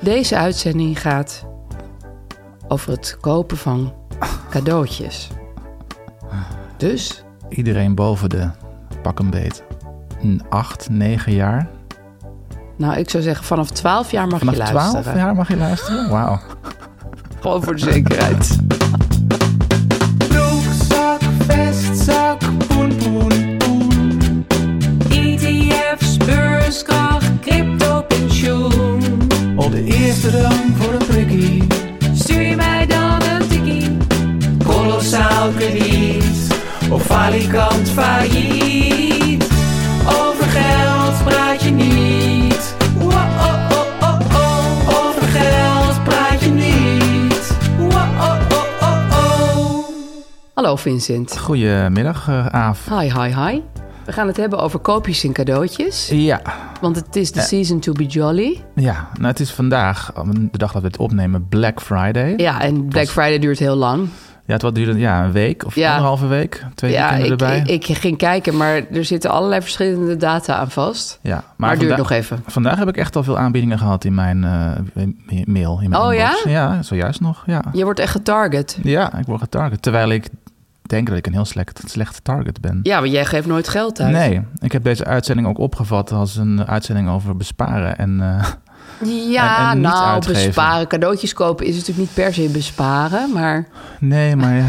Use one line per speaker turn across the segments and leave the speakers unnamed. Deze uitzending gaat over het kopen van cadeautjes. Dus
Iedereen boven de pak een beet. 8, 9 jaar.
Nou, ik zou zeggen, vanaf 12 jaar mag
Vanaf
je luisteren.
12 jaar mag je luisteren? Wauw.
Gewoon voor de zekerheid.
Broekzak, vestzak, poen, poen, poen. ETF's, beurskracht, crypto, pensioen.
Op
De eerste rang voor een prikkie. Stuur je mij dan een tikkie. Kolossaal krediet. Of falikant failliet. Over geld praat je niet. Wow, oh, oh, oh, oh. Over geld praat je niet. Wow, oh, oh, oh, oh.
Hallo Vincent.
Goedemiddag, eh, Aaf.
Hi, hi, hi. We gaan het hebben over koopjes en cadeautjes.
Ja,
Want het is de season to be jolly.
ja. Nou, het is vandaag, um, de dag dat we het opnemen, Black Friday.
Ja, en Black Friday duurt heel lang.
Ja, het wat duurde ja, een week of
Ja.
anderhalve week. Twee
Ja,
weekenden
ik,
erbij.
ik, ik ging kijken, maar er zitten allerlei verschillende data aan vast.
ja,
Maar het duurt
vanda-
nog even.
Vandaag heb ik echt al veel aanbiedingen gehad in mijn eh, ma- mail. In mijn
Oh,
inbox. Ja, zojuist nog. Ja.
Je wordt echt getarget.
ja, ik word getarget. Terwijl ik denk dat ik een heel slecht, slecht target ben.
Ja, want jij geeft nooit geld uit.
Nee, ik heb deze uitzending ook opgevat als een uitzending over besparen. En eh,
Ja,
En- en niet
nou,
uitgeven.
besparen. Cadeautjes kopen is natuurlijk niet per se besparen, maar
nee, maar ja,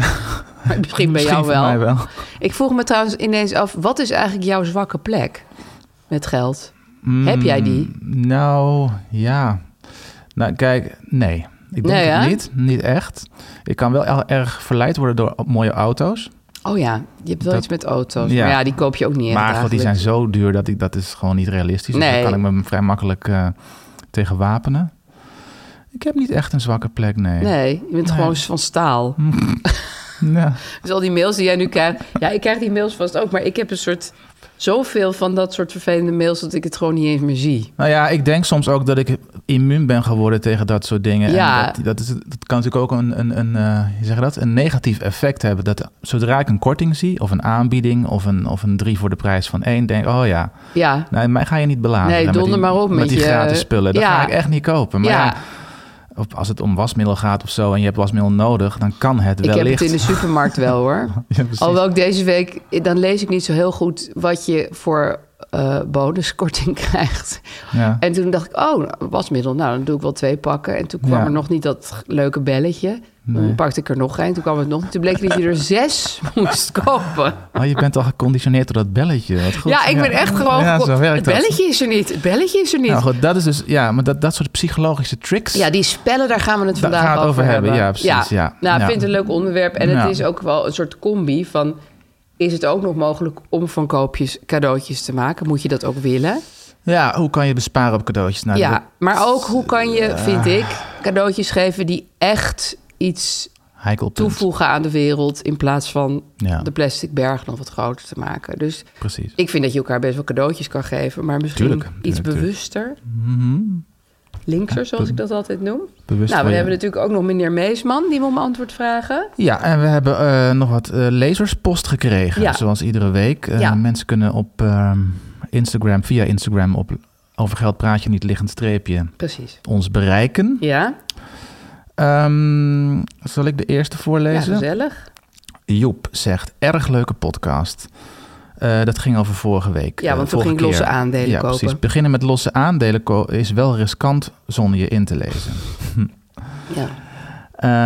misschien bij jou
voor
wel.
mij wel.
Ik vroeg me trouwens ineens af, wat is eigenlijk jouw zwakke plek met geld? Heb jij die?
Mm, Nou, ja. Nou, kijk, nee. Ik denk
Nee, hè?
het niet, niet echt. Ik kan wel heel erg verleid worden door mooie auto's.
Oh ja, je hebt wel
Dat-
iets met auto's.
ja.
Maar ja, die koop je ook niet echt
maar god, die zijn
eigenlijk.
zo duur dat ik, dat is gewoon niet realistisch. Dus
Nee.
daar kan ik me vrij makkelijk eh, tegen wapenen. Ik heb niet echt een zwakke plek, nee. Hm.
Nee, je bent gewoon van staal.
Ja.
Dus al die mails die jij nu krijgt... Ja, ik krijg die mails vast ook, maar ik heb een soort... Zoveel van dat soort vervelende mails dat ik het gewoon niet eens meer zie.
Nou ja, ik denk soms ook dat ik immuun ben geworden tegen dat soort dingen.
Ja.
En dat, dat, is, dat kan natuurlijk ook een, een, een, eh, hoe zeg je dat? een negatief effect hebben. Dat zodra ik een korting zie, of een aanbieding, of een, of een drie voor de prijs van één, denk ik, oh ja,
Ja,
nou, mij ga je niet beladen.
Nee,
met die-
donder maar op met
Met die
je-
gratis spullen, dat
Ja.
ga ik echt niet kopen. Maar
ja,
ja. op- als het om wasmiddel gaat of zo en je hebt wasmiddel nodig, dan kan het
ik
wellicht.
heb het in de supermarkt wel hoor.
Ja, precies.
Alhoewel ik deze week, dan lees ik niet zo heel goed wat je voor eh bonuskorting krijgt.
Ja.
En toen dacht ik, oh, wasmiddel, nou dan doe ik wel twee pakken. En toen kwam
Ja.
er nog niet dat leuke belletje. Toen pakte ik er nog een, toen kwam het nog niet. Toen bleek dat je er zes moest kopen.
Oh, je bent al geconditioneerd door dat belletje. Wat goed.
ja, ik ben echt gewoon...
Ja,
geko-
zo werkt
het
dat.
belletje is er niet, het belletje is er niet.
Nou
Ja,
goed, dat is dus, ja, maar dat, dat soort psychologische tricks.
die spellen, daar gaan we het
Daar
vandaag
gaan we het
over
over
hebben.
hebben, ja, precies, ja.
Nou, ik
Ja.
vind het een leuk onderwerp. En
Ja.
het is ook wel een soort combi van... is het ook nog mogelijk om van koopjes cadeautjes te maken? Moet je dat ook willen?
Ja, hoe kan je besparen op cadeautjes? Nou, dat-
Ja, maar ook hoe kan je, vind ik, cadeautjes geven die echt iets
heikel punt.
toevoegen aan de wereld in plaats van
Ja.
de plastic berg nog wat groter te maken. Dus
Precies.
ik vind dat je elkaar best wel cadeautjes kan geven, maar misschien
Tuurlijk, Mhm.
iets
tuurlijk, tuurlijk.
bewuster. Linkser, zoals ik dat altijd noem.
Bewust
nou,
van
we
je-
hebben natuurlijk ook nog meneer Meesman die we om antwoord vragen.
Ja, en we hebben eh, nog wat eh, lezerspost gekregen,
Ja.
zoals iedere week. Eh,
Ja.
Mensen kunnen op ehm, Instagram, via Instagram, op over geld praat je niet liggend streepje,
Precies.
ons bereiken.
Ja,
Ehm, zal ik de eerste
ja
voorlezen?
gezellig.
Joep zegt, erg leuke podcast. Eh, dat ging over vorige week.
Ja,
eh,
want toen
vorige
ging ik losse
keer.
aandelen
ja,
kopen.
Precies. Beginnen met losse aandelen ko- is wel riskant zonder je in te lezen.
Ja.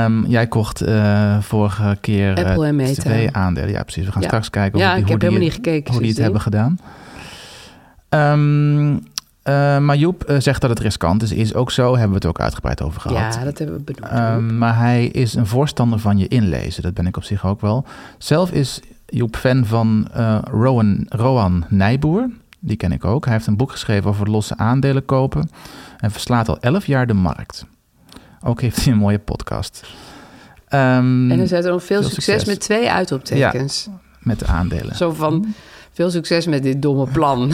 Ehm, jij kocht eh, vorige keer eh,
Apple en Meta.
twee aandelen. Ja, precies. We gaan
Ja.
straks kijken
Ja,
hoe, die,
ik
hoe
heb
die
helemaal
het-
niet gekeken
hoe die het hebben
sindsdien.
gedaan. Ehm eh, maar Joep eh, zegt dat het riskant is. Is ook zo. Hebben we het ook uitgebreid over gehad.
ja, dat hebben we benoemd.
Ehm, maar hij is een voorstander van je inlezen. Dat ben ik op zich ook wel. Zelf is Joep fan van eh, Rowan, Rowan Nijboer. Die ken ik ook. Hij heeft een boek geschreven over losse aandelen kopen. En verslaat al 11 jaar de markt. Ook heeft hij een mooie podcast. Ehm,
en er zit er nog veel,
veel
succes,
succes.
met twee uitroeptekens.
Met de aandelen.
Zo van, veel succes met dit domme plan.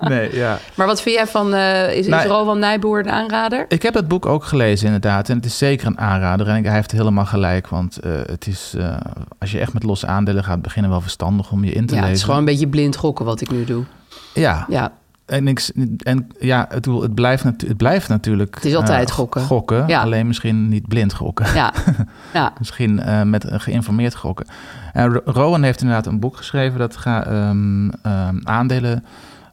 Nee, ja.
maar wat vind jij van, eh, is,
Nou,
is Rowan Nijboer een aanrader?
Ik heb dat boek ook gelezen, inderdaad. En het is zeker een aanrader. En ik- hij heeft helemaal gelijk. Want eh, het is, eh, als je echt met losse aandelen gaat beginnen, wel verstandig om je in
Ja,
te lezen.
het is gewoon een beetje blind gokken wat ik nu doe.
Ja,
Ja,
En, ik, s- en ja, het, het, blijft, natu- het blijft natuurlijk.
Het is altijd
eh,
gokken.
Gokken,
Ja.
alleen misschien niet blind gokken.
ja, ja.
Misschien eh, met een geïnformeerd gokken. En Ro- Rowan heeft inderdaad een boek geschreven dat gaat ehm, ehm, aandelen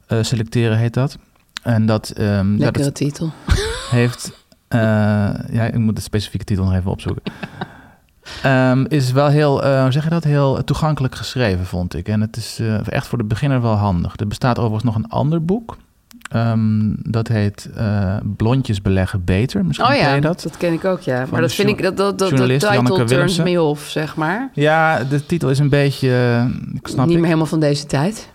eh, selecteren, heet dat. En dat, ehm, ja,
Lekkere
dat
titel.
heeft. eh, ja, ik moet de specifieke titel nog even opzoeken. Ehm, is wel heel, eh, hoe zeg je dat, heel toegankelijk geschreven, vond ik. En het is eh, echt voor de beginner wel handig. Er bestaat overigens nog een ander boek. Ehm, dat heet eh, Blondjes beleggen beter. Misschien
Oh
ken
ja,
je
dat?
dat.
dat ken ik ook, ja. Maar
de
dat vind
jour-
ik, dat, dat, dat, dat
journalist
title
Janneke
turns
Willemsen.
me off, zeg maar.
Ja, de titel is een beetje... eh, Ik snap
Niet
ik.
meer helemaal van deze tijd.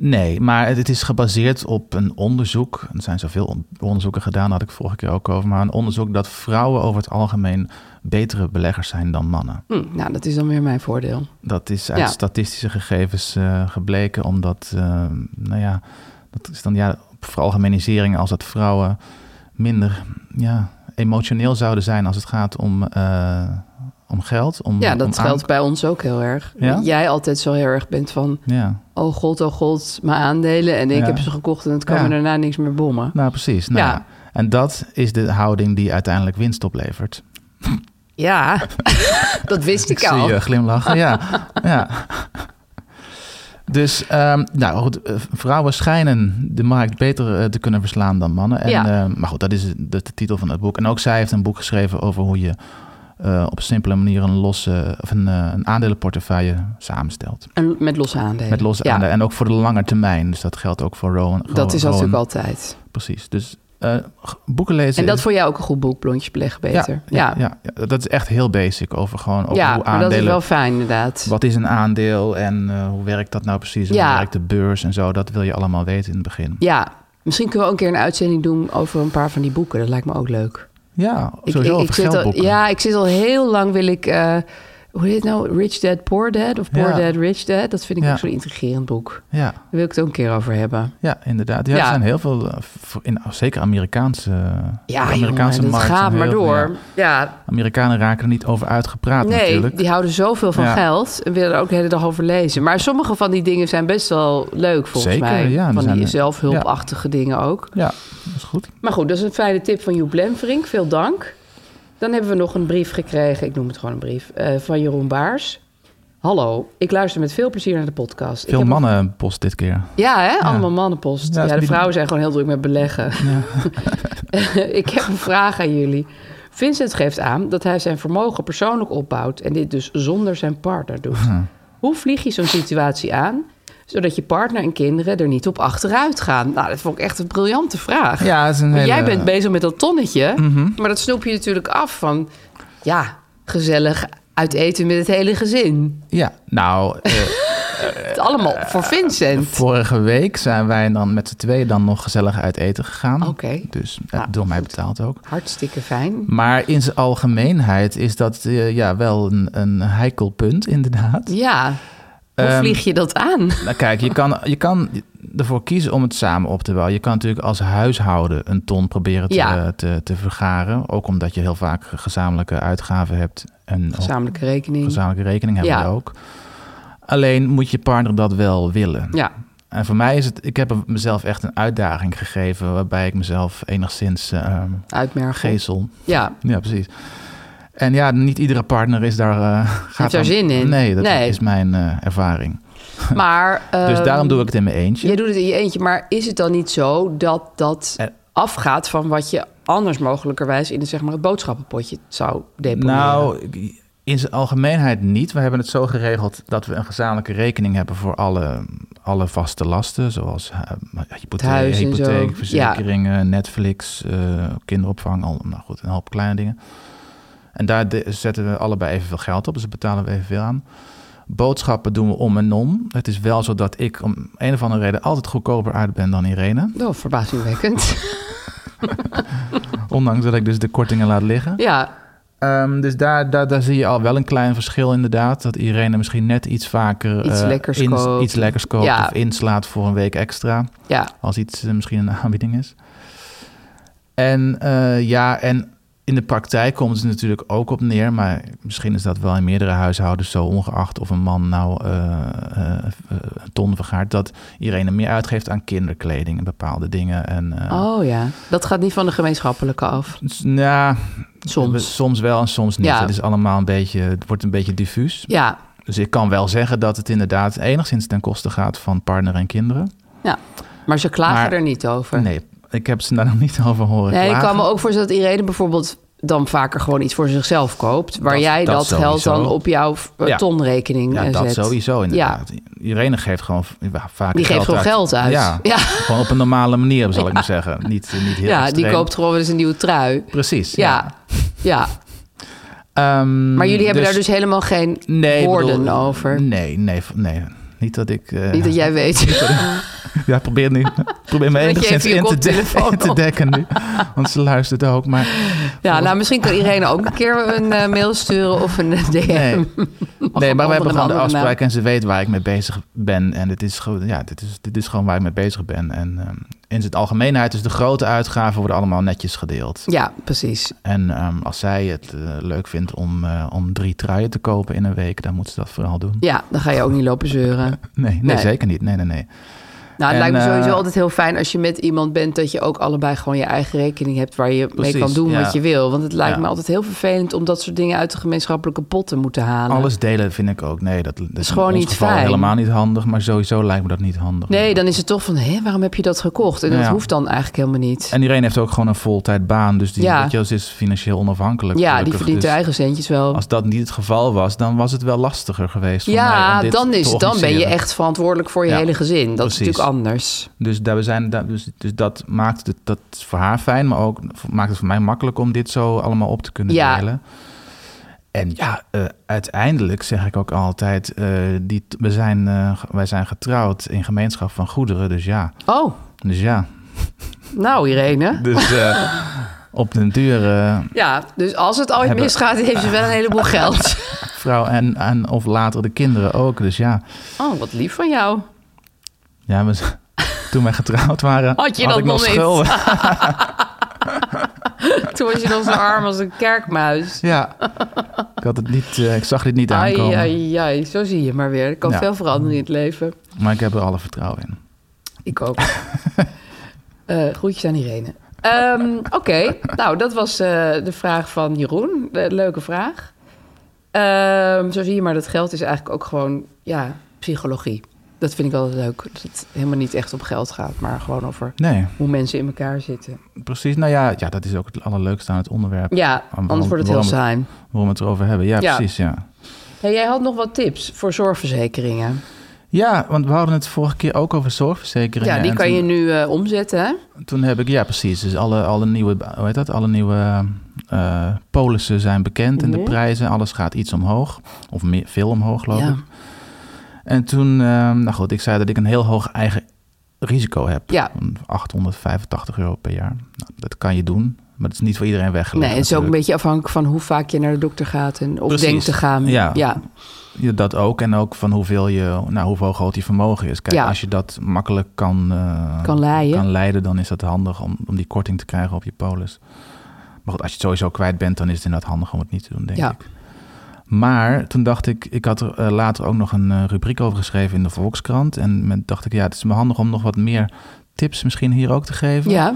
Nee, maar het- het is gebaseerd op een onderzoek. Er zijn zoveel on- onderzoeken gedaan, daar had ik vorige keer ook over. Maar een onderzoek dat vrouwen over het algemeen betere beleggers zijn dan mannen.
Hm, nou, dat is dan weer mijn voordeel.
Dat is uit
Ja.
statistische gegevens eh, gebleken, omdat, eh, nou ja, dat is dan ja, veralgemenisering als dat vrouwen minder ja, emotioneel zouden zijn als het gaat om, eh, om geld. Om,
Ja, dat
om
geldt
aan-
bij ons ook heel erg.
Ja?
Jij altijd zo heel erg bent van...
Ja,
oh god, oh god, mijn aandelen... en ik
Ja.
heb ze gekocht en het kan
Ja.
me daarna niks meer bommen.
nou precies. Nou,
Ja.
En dat is de houding die uiteindelijk winst oplevert.
Ja, dat wist ik,
Ik
al.
zie je glimlachen, ja. ja. Dus, ehm, nou goed, eh, vrouwen schijnen de markt beter eh, te kunnen verslaan dan mannen. En,
Ja.
eh, maar goed, dat is de, de titel van het boek. En ook zij heeft een boek geschreven over hoe je eh, op een simpele manier een losse of een, eh, een aandelenportefeuille samenstelt.
En met losse aandelen.
Met losse
Eh, Ja,
aandelen. En ook voor de lange termijn. Dus dat geldt ook voor Rowan.
Dat is
Rowan-
natuurlijk altijd.
Precies. Dus eh, boeken lezen.
En dat
is-
voor jou ook een goed boek, Blondjes beleggen beter.
ja, ja, ja. dat is echt heel basic over gewoon over
Ja,
hoe
maar dat is
aandelen
wel fijn inderdaad.
wat is een aandeel en eh, hoe werkt dat nou precies? En
Ja.
Hoe werkt de beurs en zo? Dat wil je allemaal weten in het begin.
Ja, misschien kunnen we ook een keer een uitzending doen... over een paar van die boeken. Dat lijkt me ook leuk.
Ja, sowieso over
zit al,
geldboeken.
ja, ik zit al heel lang wil ik. eh, hoe heet het nou? Rich Dad, Poor Dad of Poor
Ja.
Dad, Rich Dad. Dat vind ik
Ja.
ook zo'n intrigerend boek.
ja,
Daar wil ik het ook een keer over hebben.
ja, inderdaad. Ja,
Ja.
Er zijn heel veel, eh, voor- in, zeker Amerikaanse,
Ja,
de Amerikaanse
jongen, dat
markt.
gaat
zijn
maar
heel veel-
door.
ja.
Ja,
Amerikanen raken er niet over uitgepraat
nee,
natuurlijk.
die houden zoveel van
Ja.
geld en willen er ook de hele dag over lezen. Maar sommige van die dingen zijn best wel leuk volgens
Zeker,
mij.
ja, er
van die
zijn- eh,
zelfhulpachtige dingen ook.
Ja, dat is goed.
Maar goed, dat is een fijne tip van Joep Lemverink. Veel dank. Dan hebben we nog een brief gekregen. Ik noem het gewoon een brief. eh, van Jeroen Baars. Hallo, ik luister met veel plezier naar de podcast. Ik
Veel
heb een-
mannen post dit keer.
Ja, hè? allemaal mannenpost.
Ja,
Ja,
is
de
niet-
vrouwen zijn gewoon heel druk met beleggen. ik heb een vraag aan jullie. Vincent geeft aan dat hij zijn vermogen persoonlijk opbouwt en dit dus zonder zijn partner doet. Hoe vlieg je zo'n situatie aan, zodat je partner en kinderen er niet op achteruit gaan? Nou, dat vond ik echt een briljante vraag.
Ja, het is een
Want
hele... Mhm.
Jij bent bezig met dat tonnetje, maar dat snoep je natuurlijk af van, ja, gezellig uit eten met het hele gezin.
Ja, nou, eh,
Het is allemaal voor Vincent.
vorige week zijn wij dan met z'n tweeën dan nog gezellig uit eten gegaan.
Oké.
Dus eh,
Nou,
door mij betaald ook.
Hartstikke fijn.
Maar in zijn algemeenheid is dat eh, ja, wel een, een heikel punt, inderdaad.
Ja. Hoe
Ehm,
vlieg je dat aan?
Nou, kijk, je kan, je kan ervoor kiezen om het samen op te bouwen. Je kan natuurlijk als huishouden een ton proberen te,
Ja.
eh, te, te vergaren. Ook omdat je heel vaak gezamenlijke uitgaven hebt. En ook
Gezamenlijke rekening.
gezamenlijke rekening hebben
Ja.
we ook. Alleen moet je partner dat wel willen.
Ja.
En voor mij is het, ik heb mezelf echt een uitdaging gegeven. waarbij ik mezelf enigszins eh,
Uitmergel.
gezel.
Ja.
Ja, precies. En ja, niet iedere partner is daar, eh gaat
daar
dan-
zin in?
Nee, dat
Nee.
is mijn eh, ervaring.
Maar,
Dus
ehm,
daarom doe ik het in mijn eentje.
Jij doet het in je eentje, maar is het dan niet zo dat dat
Eh.
afgaat van wat je anders mogelijkerwijs in het, zeg maar, het boodschappenpotje zou deponeren?
Nou, in zijn algemeenheid niet. We hebben het zo geregeld dat we een gezamenlijke rekening hebben voor alle, alle vaste lasten. Zoals eh, hypotheek,
huis en zo.
hypotheek
Ja.
verzekeringen, Netflix, eh, kinderopvang, al, nou goed, een hoop kleine dingen. En daar de- zetten we allebei evenveel geld op, dus daar betalen we evenveel aan. Boodschappen doen we om en om. Het is wel zo dat ik om een of andere reden altijd goedkoper uit ben dan Irene.
Oh, verbazingwekkend.
Ondanks dat ik dus de kortingen laat liggen.
ja,
Ehm, dus daar, daar, daar zie je al wel een klein verschil inderdaad. Dat Irene misschien net iets vaker
Iets
eh,
lekkers koopt.
iets lekkers koopt
Ja.
of inslaat voor een week extra.
ja.
Als iets eh, misschien een aanbieding is. En eh, ja, en in de praktijk komt het natuurlijk ook op neer. Maar misschien is dat wel in meerdere huishoudens zo, ongeacht of een man nou eh, eh, eh, een ton vergaart. Dat Irene meer uitgeeft aan kinderkleding en bepaalde dingen. En, eh,
Oh ja, dat gaat niet van de gemeenschappelijke af.
s- nou, we-
Soms.
Soms wel en soms niet.
Ja.
Het is allemaal een beetje, het wordt een beetje diffuus.
Ja,
Dus ik kan wel zeggen dat het inderdaad enigszins ten koste gaat van partner en kinderen.
ja. Maar ze klagen
Maar-
er niet over.
Nee, ik heb ze daar nog niet over horen
Nee, ik
klagen.
kan me ook voorstellen dat Irene bijvoorbeeld dan vaker gewoon iets voor zichzelf koopt. Waar
Dat-
jij
dat
dat, geld
sowieso.
dan op jouw eh,
Ja.
tonrekening
Ja,
eh,
dat
zet.
sowieso
Ja.
inderdaad. Irene geeft gewoon v- ja, vaak
Die geeft gewoon geld uit.
Ja,
Ja.
gewoon op een normale manier, zal ik maar zeggen. Niet, niet heel
Ja, die
extreem.
koopt gewoon weer eens een nieuwe trui.
Precies, ja.
Ja, ja.
Ehm,
Maar jullie hebben daar dus helemaal geen
nee, ik
woorden
bedoel,
over.
Nee, nee, v- nee. Niet dat ik... eh,
Niet dat jij weet.
Ja, probeer nu. Probeer me
je
enigszins
even je
in te, de-
koptelefoon
in te
op.
dekken nu. Want ze luistert ook. Maar
ja, nou misschien kan Irene ook een keer een eh, mail sturen of een DM.
nee. nee, maar we hebben gewoon de
andere naam.
afspraak en ze weet waar ik mee bezig ben. En dit is, gewoon- ja, dit is, dit is gewoon waar ik mee bezig ben. En ehm, in zijn algemeenheid, dus de grote uitgaven worden allemaal netjes gedeeld.
Ja, precies.
En ehm, als zij het eh, leuk vindt om, eh, om drie truien te kopen in een week, dan moet ze dat vooral doen.
Ja, dan ga je ook niet lopen zeuren.
Nee, nee,
Nee.
zeker niet. Nee, nee, nee.
Nou, het
En,
lijkt me sowieso
eh,
altijd heel fijn als je met iemand bent... dat je ook allebei gewoon je eigen rekening hebt... waar je
Precies,
mee kan doen
ja.
wat je wil. Want het lijkt
Ja.
me altijd heel vervelend... om dat soort dingen uit de gemeenschappelijke pot te moeten halen.
Alles delen vind ik ook. Nee, dat, dat is
gewoon
in ons
niet
geval
fijn.
helemaal niet handig. Maar sowieso lijkt me dat niet handig.
Nee, dan is het toch van, hé, waarom heb je dat gekocht? En dat
Ja.
hoeft dan eigenlijk helemaal niet.
En iedereen heeft ook gewoon een voltijd baan. Dus die
Ja.
weet je, wel, ze is financieel onafhankelijk.
ja, die
gelukkig.
verdient
Dus
haar eigen centjes wel.
Als dat niet het geval was, dan was het wel lastiger geweest. voor mij
Ja,
om dit
dan,
te
is, dan ben je
organiseren.
echt verantwoordelijk voor je
Ja,
hele gezin. Dat
precies.
is natuurlijk anders.
Dus, daar, we zijn, daar- dus, dus dat maakt het dat is voor haar fijn, maar ook maakt het voor mij makkelijk om dit zo allemaal op te kunnen
Ja.
delen. En ja, eh, uiteindelijk zeg ik ook altijd: eh, die, we zijn, eh, ge- wij zijn getrouwd in gemeenschap van goederen. Dus ja,
Oh,
dus ja.
nou Irene.
Dus eh, op den duur. eh,
Ja, dus als het ooit
Hebben-
misgaat, heeft ze wel een heleboel geld.
vrouw en, en of later de kinderen ook. Dus ja,
Oh, wat lief van jou.
ja we, toen wij getrouwd waren,
Had je dat
ik nog
nog niet?
schulden.
Toen was je nog zo arm als een kerkmuis.
Ja, ik, had het niet, eh, ik zag dit niet
Ai,
aankomen,
ai, ai, zo zie je maar weer. Er kan
Ja.
veel veranderen in het leven.
maar ik heb er alle vertrouwen in.
Ik ook. Eh groetjes aan Irene. Ehm, Oké, nou dat was eh, de vraag van Jeroen. Le- leuke vraag. Ehm, zo zie je maar dat geld is eigenlijk ook gewoon ja, psychologie. Dat vind ik altijd leuk. Dat het helemaal niet echt om geld gaat, maar gewoon over
Nee,
hoe mensen in elkaar zitten.
precies. Nou ja, ja dat is ook het allerleukste aan het onderwerp.
Ja,
Waarom-
anders wordt het heel
waarom-
saai.
Waarom we het erover hebben. Ja,
Ja.
precies, ja.
Hey, jij had nog wat tips voor zorgverzekeringen.
Ja, want we hadden het vorige keer ook over zorgverzekeringen.
Ja, die
en
kan
toen,
je nu eh, omzetten, hè?
Toen heb ik, ja precies, dus alle, alle nieuwe, hoe heet dat, alle nieuwe eh polissen zijn bekend
Mhm.
en de prijzen, alles gaat iets omhoog. Of meer, veel omhoog, geloof
Ja.
ik. En toen, eh, nou goed, ik zei dat ik een heel hoog eigen risico heb.
Ja.
Van 885 euro per jaar. Nou, dat kan je doen, maar dat is niet voor iedereen weggelegd.
Nee, het is ook een
natuurlijk.
beetje afhankelijk van hoe vaak je naar de dokter gaat en op
Precies.
denkt te gaan.
Ja.
ja.
Ja, dat ook. En ook van hoeveel je, nou, hoeveel groot je vermogen is. Kijk,
Ja.
als je dat makkelijk kan, eh,
Kan leiden.
kan leiden, dan is dat handig om, om die korting te krijgen op je polis. Maar goed, als je het sowieso kwijt bent, dan is het inderdaad handig om het niet te doen, denk
Ja.
ik. Maar toen dacht ik, ik had er eh, later ook nog een eh, rubriek over geschreven in de Volkskrant. En met, dacht ik, ja, het is me handig om nog wat meer tips misschien hier ook te geven
ja.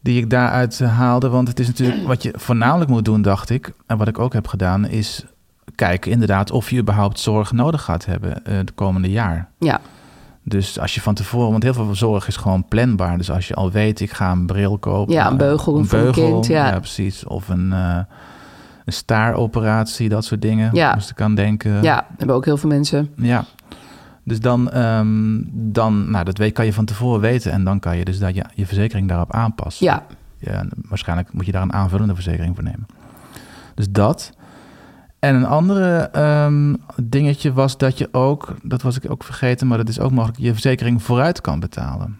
die ik daaruit eh, haalde. Want het is natuurlijk wat je voornamelijk moet doen, dacht ik. En wat ik ook heb gedaan, is kijken inderdaad of je überhaupt zorg nodig gaat hebben eh, de komende jaar.
Ja,
Dus als je van tevoren, want heel veel zorg is gewoon planbaar. Dus als je al weet, ik ga een bril kopen. eh,
Ja, een beugel
een
voor mijn
beugel,
kind, ja.
precies. Of een, eh, een staaroperatie, dat soort dingen.
Ja.
Moest ik aan denken.
ja, hebben ook heel veel mensen.
Ja. Dus dan, ehm, dan nou, dat weet, kan je van tevoren weten. En dan kan je dus dat je, je verzekering daarop aanpassen.
Ja,
Ja, en waarschijnlijk moet je daar een aanvullende verzekering voor nemen. Dus dat. En een andere ehm, dingetje was dat je ook, dat was ik ook vergeten, maar dat is ook mogelijk, je verzekering vooruit kan betalen.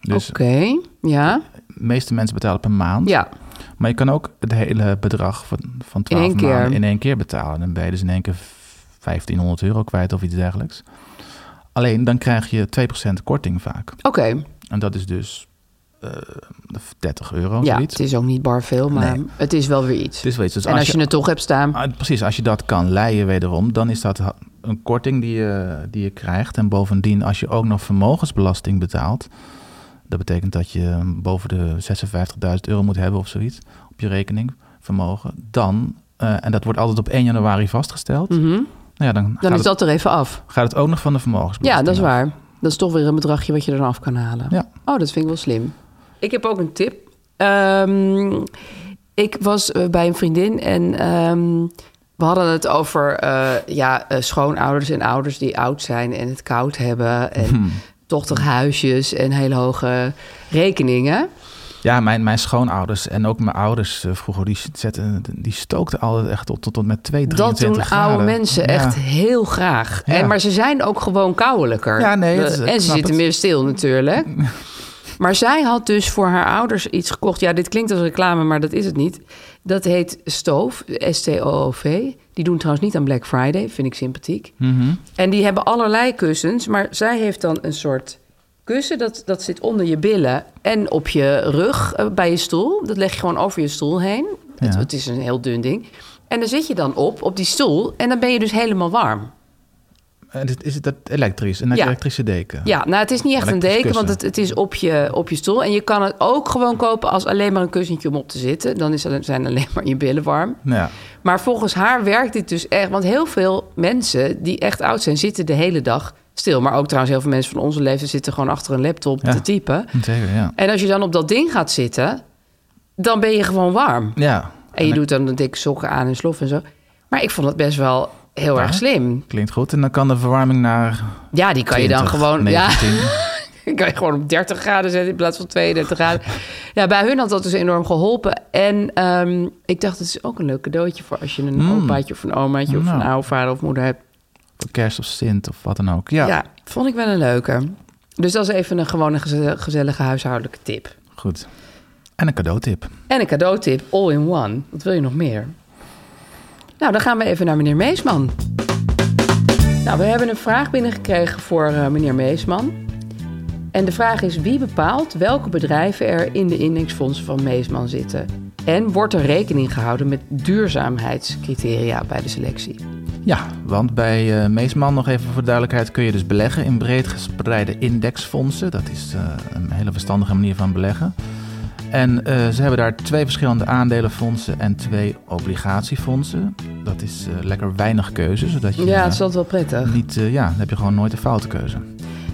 Dus
oké. Ja,
de meeste mensen betalen per maand.
ja,
Maar je kan ook het hele bedrag van, van 12
één keer.
maanden in één keer betalen. Dan ben je dus in één keer 1500 euro kwijt of iets dergelijks. Alleen dan krijg je 2% korting vaak.
oké.
En dat is dus eh, 30 euro.
Ja,
zoiets.
het is ook niet bar veel, maar
Nee.
het is wel weer iets.
Het is wel iets. Dus
en als je, het toch hebt staan,
Ah, precies, als je dat kan leien wederom, dan is dat ha- een korting die je, die je krijgt. En bovendien, als je ook nog vermogensbelasting betaalt, dat betekent dat je boven de 56.000 euro moet hebben of zoiets op je rekening, vermogen, dan, eh, en dat wordt altijd op 1 januari vastgesteld, nou ja, dan,
Mhm. dan
gaat,
is dat er even af.
het, gaat het ook nog van de vermogensbelasting.
Ja, dat is
af.
waar. Dat is toch weer een bedragje wat je dan af kan halen.
Ja.
Oh, dat vind ik wel slim. Ik heb ook een tip. Ehm, ik was eh, bij een vriendin en ehm, we hadden het over eh, ja, eh, schoonouders en ouders die oud zijn en het koud hebben. En
Hmm.
tochtig huisjes en hele hoge rekeningen.
Ja, mijn, mijn schoonouders en ook mijn ouders eh, vroeger, die, zetten, die stookten altijd echt tot, tot, tot met 2,
Dat
23
doen oude
graden.
mensen
Ja.
echt heel graag.
Ja.
En, maar ze zijn ook gewoon kouwelijker. Eh,
Ja, nee, dat is- ik
en ze
snap
zitten
het.
meer stil natuurlijk. Maar zij had dus voor haar ouders iets gekocht. Ja, dit klinkt als reclame, maar dat is het niet. Dat heet Stoof, S-T-O-O-V. Die doen trouwens niet aan Black Friday, vind ik sympathiek. En die hebben allerlei kussens, maar zij heeft dan een soort kussen... dat, dat zit onder je billen en op je rug eh, bij je stoel. Dat leg je gewoon over je stoel heen. Het,
Ja.
het is een heel dun ding. En dan zit je dan op, op die stoel, en dan ben je dus helemaal warm.
En Eh, dit- is het dat elektrisch? Een
Ja.
elektrische deken?
Ja, nou het is niet echt een
Elektrisch
deken, want het,
kussen.
het is op je, op je stoel. En je kan het ook gewoon kopen als alleen maar een kussentje om op te zitten. Dan is, alleen- zijn alleen maar je billen warm.
Nou ja.
Maar volgens haar werkt dit dus echt. Want heel veel mensen die echt oud zijn, zitten de hele dag stil. Maar ook trouwens heel veel mensen van onze leeftijd zitten gewoon achter een laptop
Ja.
te typen.
Zeker, ja.
En als je dan op dat ding gaat zitten, dan ben je gewoon warm.
Ja.
En je doet dan de dikke sokken aan en slof en zo. Maar ik vond het best wel heel erg slim.
Klinkt goed. En dan kan de verwarming naar.
Ja, die kan
20,
je dan gewoon... Ja,
19.
Ik kan je gewoon op 30 graden zetten in plaats van 32 graden. Ja, bij hun had dat dus enorm geholpen. En ehm, ik dacht, het is ook een leuk cadeautje voor als je een opaatje of een omaatje of
Mm. Nou.
een oude vader of moeder hebt.
Voor Kerst of Sint of wat dan ook. Ja.
Ja. vond ik wel een leuke. Dus dat is even een gewone geze- gezellige huishoudelijke tip.
Goed. En een cadeautip.
En een cadeautip, all in one. Wat wil je nog meer? Nou, dan gaan we even naar meneer Meesman. Nou, we hebben een vraag binnengekregen voor eh, meneer Meesman. En de vraag is wie bepaalt welke bedrijven er in de indexfondsen van Meesman zitten? En wordt er rekening gehouden met duurzaamheidscriteria bij de selectie?
Ja, want bij eh, Meesman, nog even voor duidelijkheid, kun je dus beleggen in breed gespreide indexfondsen. Dat is eh, een hele verstandige manier van beleggen. En eh, ze hebben daar twee verschillende aandelenfondsen en twee obligatiefondsen. Dat is eh, lekker weinig keuze, zodat je
Ja,
eh,
het is altijd wel prettig.
niet, eh, ja, dan heb je gewoon nooit een foute keuze.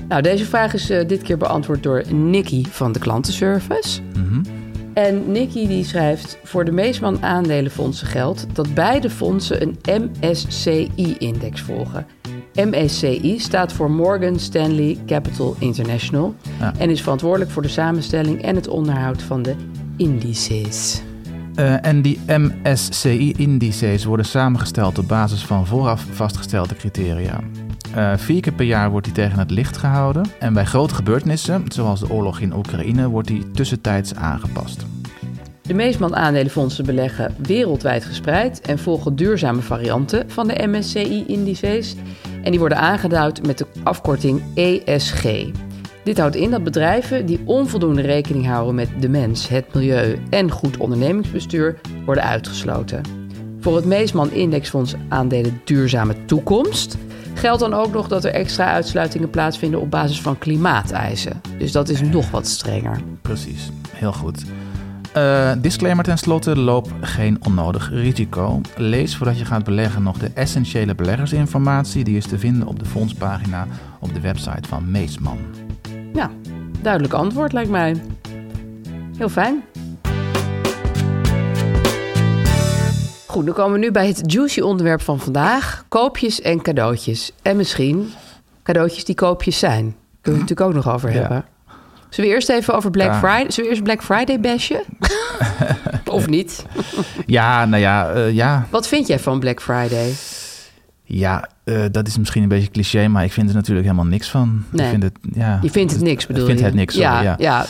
Nou, deze vraag is eh, dit keer beantwoord door Nicky van de klantenservice. En Nicky die schrijft: Voor de Meesman aandelenfondsen geldt dat beide fondsen een MSCI-index volgen. MSCI staat voor Morgan Stanley Capital International
Ja.
en is verantwoordelijk voor de samenstelling en het onderhoud van de indices.
Eh, en die MSCI-indices worden samengesteld op basis van vooraf vastgestelde criteria. Eh, vier keer per jaar wordt die tegen het licht gehouden. En bij grote gebeurtenissen, zoals de oorlog in Oekraïne, wordt die tussentijds aangepast.
De Meesman aandelenfondsen beleggen wereldwijd gespreid en volgen duurzame varianten van de MSCI-indices. En die worden aangeduid met de afkorting ESG. Dit houdt in dat bedrijven die onvoldoende rekening houden met de mens, het milieu en goed ondernemingsbestuur worden uitgesloten. Voor het Meesman Indexfonds aandelen Duurzame Toekomst geldt dan ook nog dat er extra uitsluitingen plaatsvinden op basis van klimaateisen. Dus dat is nog wat strenger.
Precies, heel goed. Eh, disclaimer tenslotte, loop geen onnodig risico. Lees voordat je gaat beleggen nog de essentiële beleggersinformatie. Die is te vinden op de fondspagina op de website van Meesman.
Nou, duidelijk antwoord lijkt mij. Heel fijn. Goed, dan komen we nu bij het juicy onderwerp van vandaag. Koopjes en cadeautjes. En misschien cadeautjes die koopjes zijn. Kunnen we het natuurlijk ook nog over
Ja.
hebben. Zullen we eerst even over Black
Ja.
Friday... Zullen we eerst Black Friday bashen? of niet?
Ja, nou ja, eh, ja.
Wat vind jij van Black Friday?
Ja, eh, dat is misschien een beetje cliché, maar ik vind er natuurlijk helemaal niks van.
Nee.
Ik vind het, ja,
Je vindt het niks, bedoel
Ik vind
je?
het niks, sorry,
ja,
ja.
ja.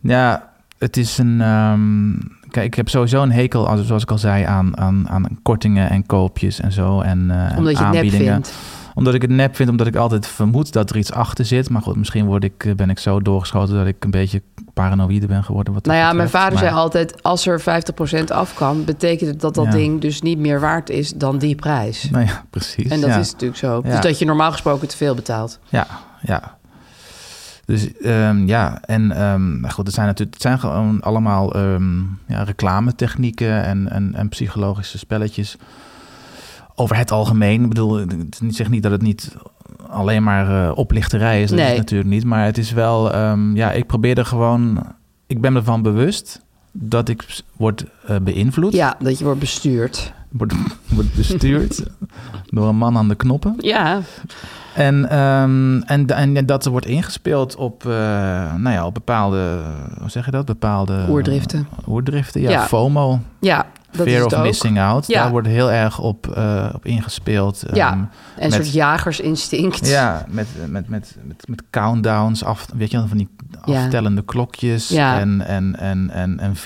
Ja, het is een. ehm, kijk, ik heb sowieso een hekel, als, zoals ik al zei, aan, aan, aan kortingen en koopjes en zo. En, eh, en
Omdat je het nep
aanbiedingen.
vindt.
Omdat ik het nep vind, omdat ik altijd vermoed dat er iets achter zit. Maar goed, misschien word ik, eh, ben ik zo doorgeschoten dat ik een beetje paranoïde ben geworden. Wat dat
Nou ja, mijn
betreft.
vader
Maar-
zei altijd: als er 50% af kan, betekent het dat dat
Ja.
ding dus niet meer waard is dan die prijs.
Nou ja, precies.
En dat
ja.
is natuurlijk zo.
Ja.
Dus dat je normaal gesproken te veel betaalt.
Ja, ja. Dus ehm, ja, en ehm, nou goed, het zijn natuurlijk het zijn gewoon allemaal ehm ja, reclametechnieken en, en, en psychologische spelletjes over het algemeen. Ik bedoel, het is- ik zeg niet dat het niet alleen maar eh, oplichterij is, dat is
Nee.
het natuurlijk niet. Maar het is wel, ehm, ja, ik probeer er gewoon, ik ben ervan bewust dat ik s- word eh, beïnvloed,
Ja, dat je wordt bestuurd.
word, word bestuurd door een man aan de knoppen.
Ja,
En, ehm, en, en dat er wordt ingespeeld op, eh, nou ja, op bepaalde, hoe zeg je dat? Bepaalde
oerdriften.
oerdriften, ja,
Ja.
FOMO,
Ja, dat
Eh, Fear
is
of
het ook.
Missing Out.
Ja.
Daar wordt heel erg op, eh, op ingespeeld.
Ja.
Ehm,
En een
met-
soort jagersinstinct.
ja, met, met, met, met, met countdowns, af, weet je wel, van die
Ja.
aftellende klokjes
Ja.
en, en, en, en, en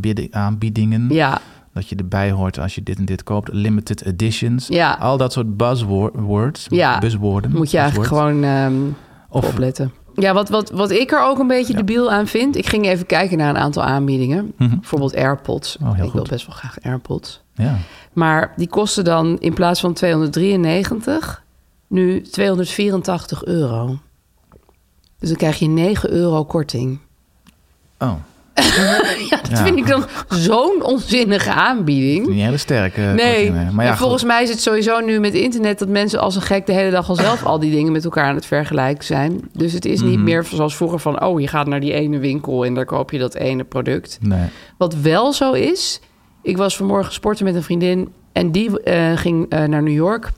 VIP-aanbiedingen.
ja,
Dat je erbij hoort als je dit en dit koopt. Limited editions.
Ja.
Al dat soort buzzwords.
Ja.
Buzzwoorden.
moet je eigenlijk
buzzwords.
gewoon ehm,
Of
opletten. Ja, wat, wat, wat ik er ook een beetje debiel aan vind. Ik ging even kijken naar een aantal aanbiedingen. Bijvoorbeeld AirPods.
Mhm. Oh, heel
ik wil
goed.
best wel graag AirPods.
Ja.
Maar die kosten dan in plaats van 293 nu 284 euro. Dus dan krijg je 9 euro korting.
Oh,
Ja, dat vind ik dan zo'n onzinnige aanbieding.
niet een hele sterke. eh,
Nee,
korting, Maar ja,
en volgens
goed.
mij is het sowieso nu met internet dat mensen als een gek de hele dag al zelf al die dingen met elkaar aan het vergelijken zijn. Dus het is niet
Mhm.
meer zoals vroeger van, oh, je gaat naar die ene winkel en daar koop je dat ene product.
Nee.
Wat wel zo is, ik was vanmorgen sporten met een vriendin en die eh, ging eh, naar New York.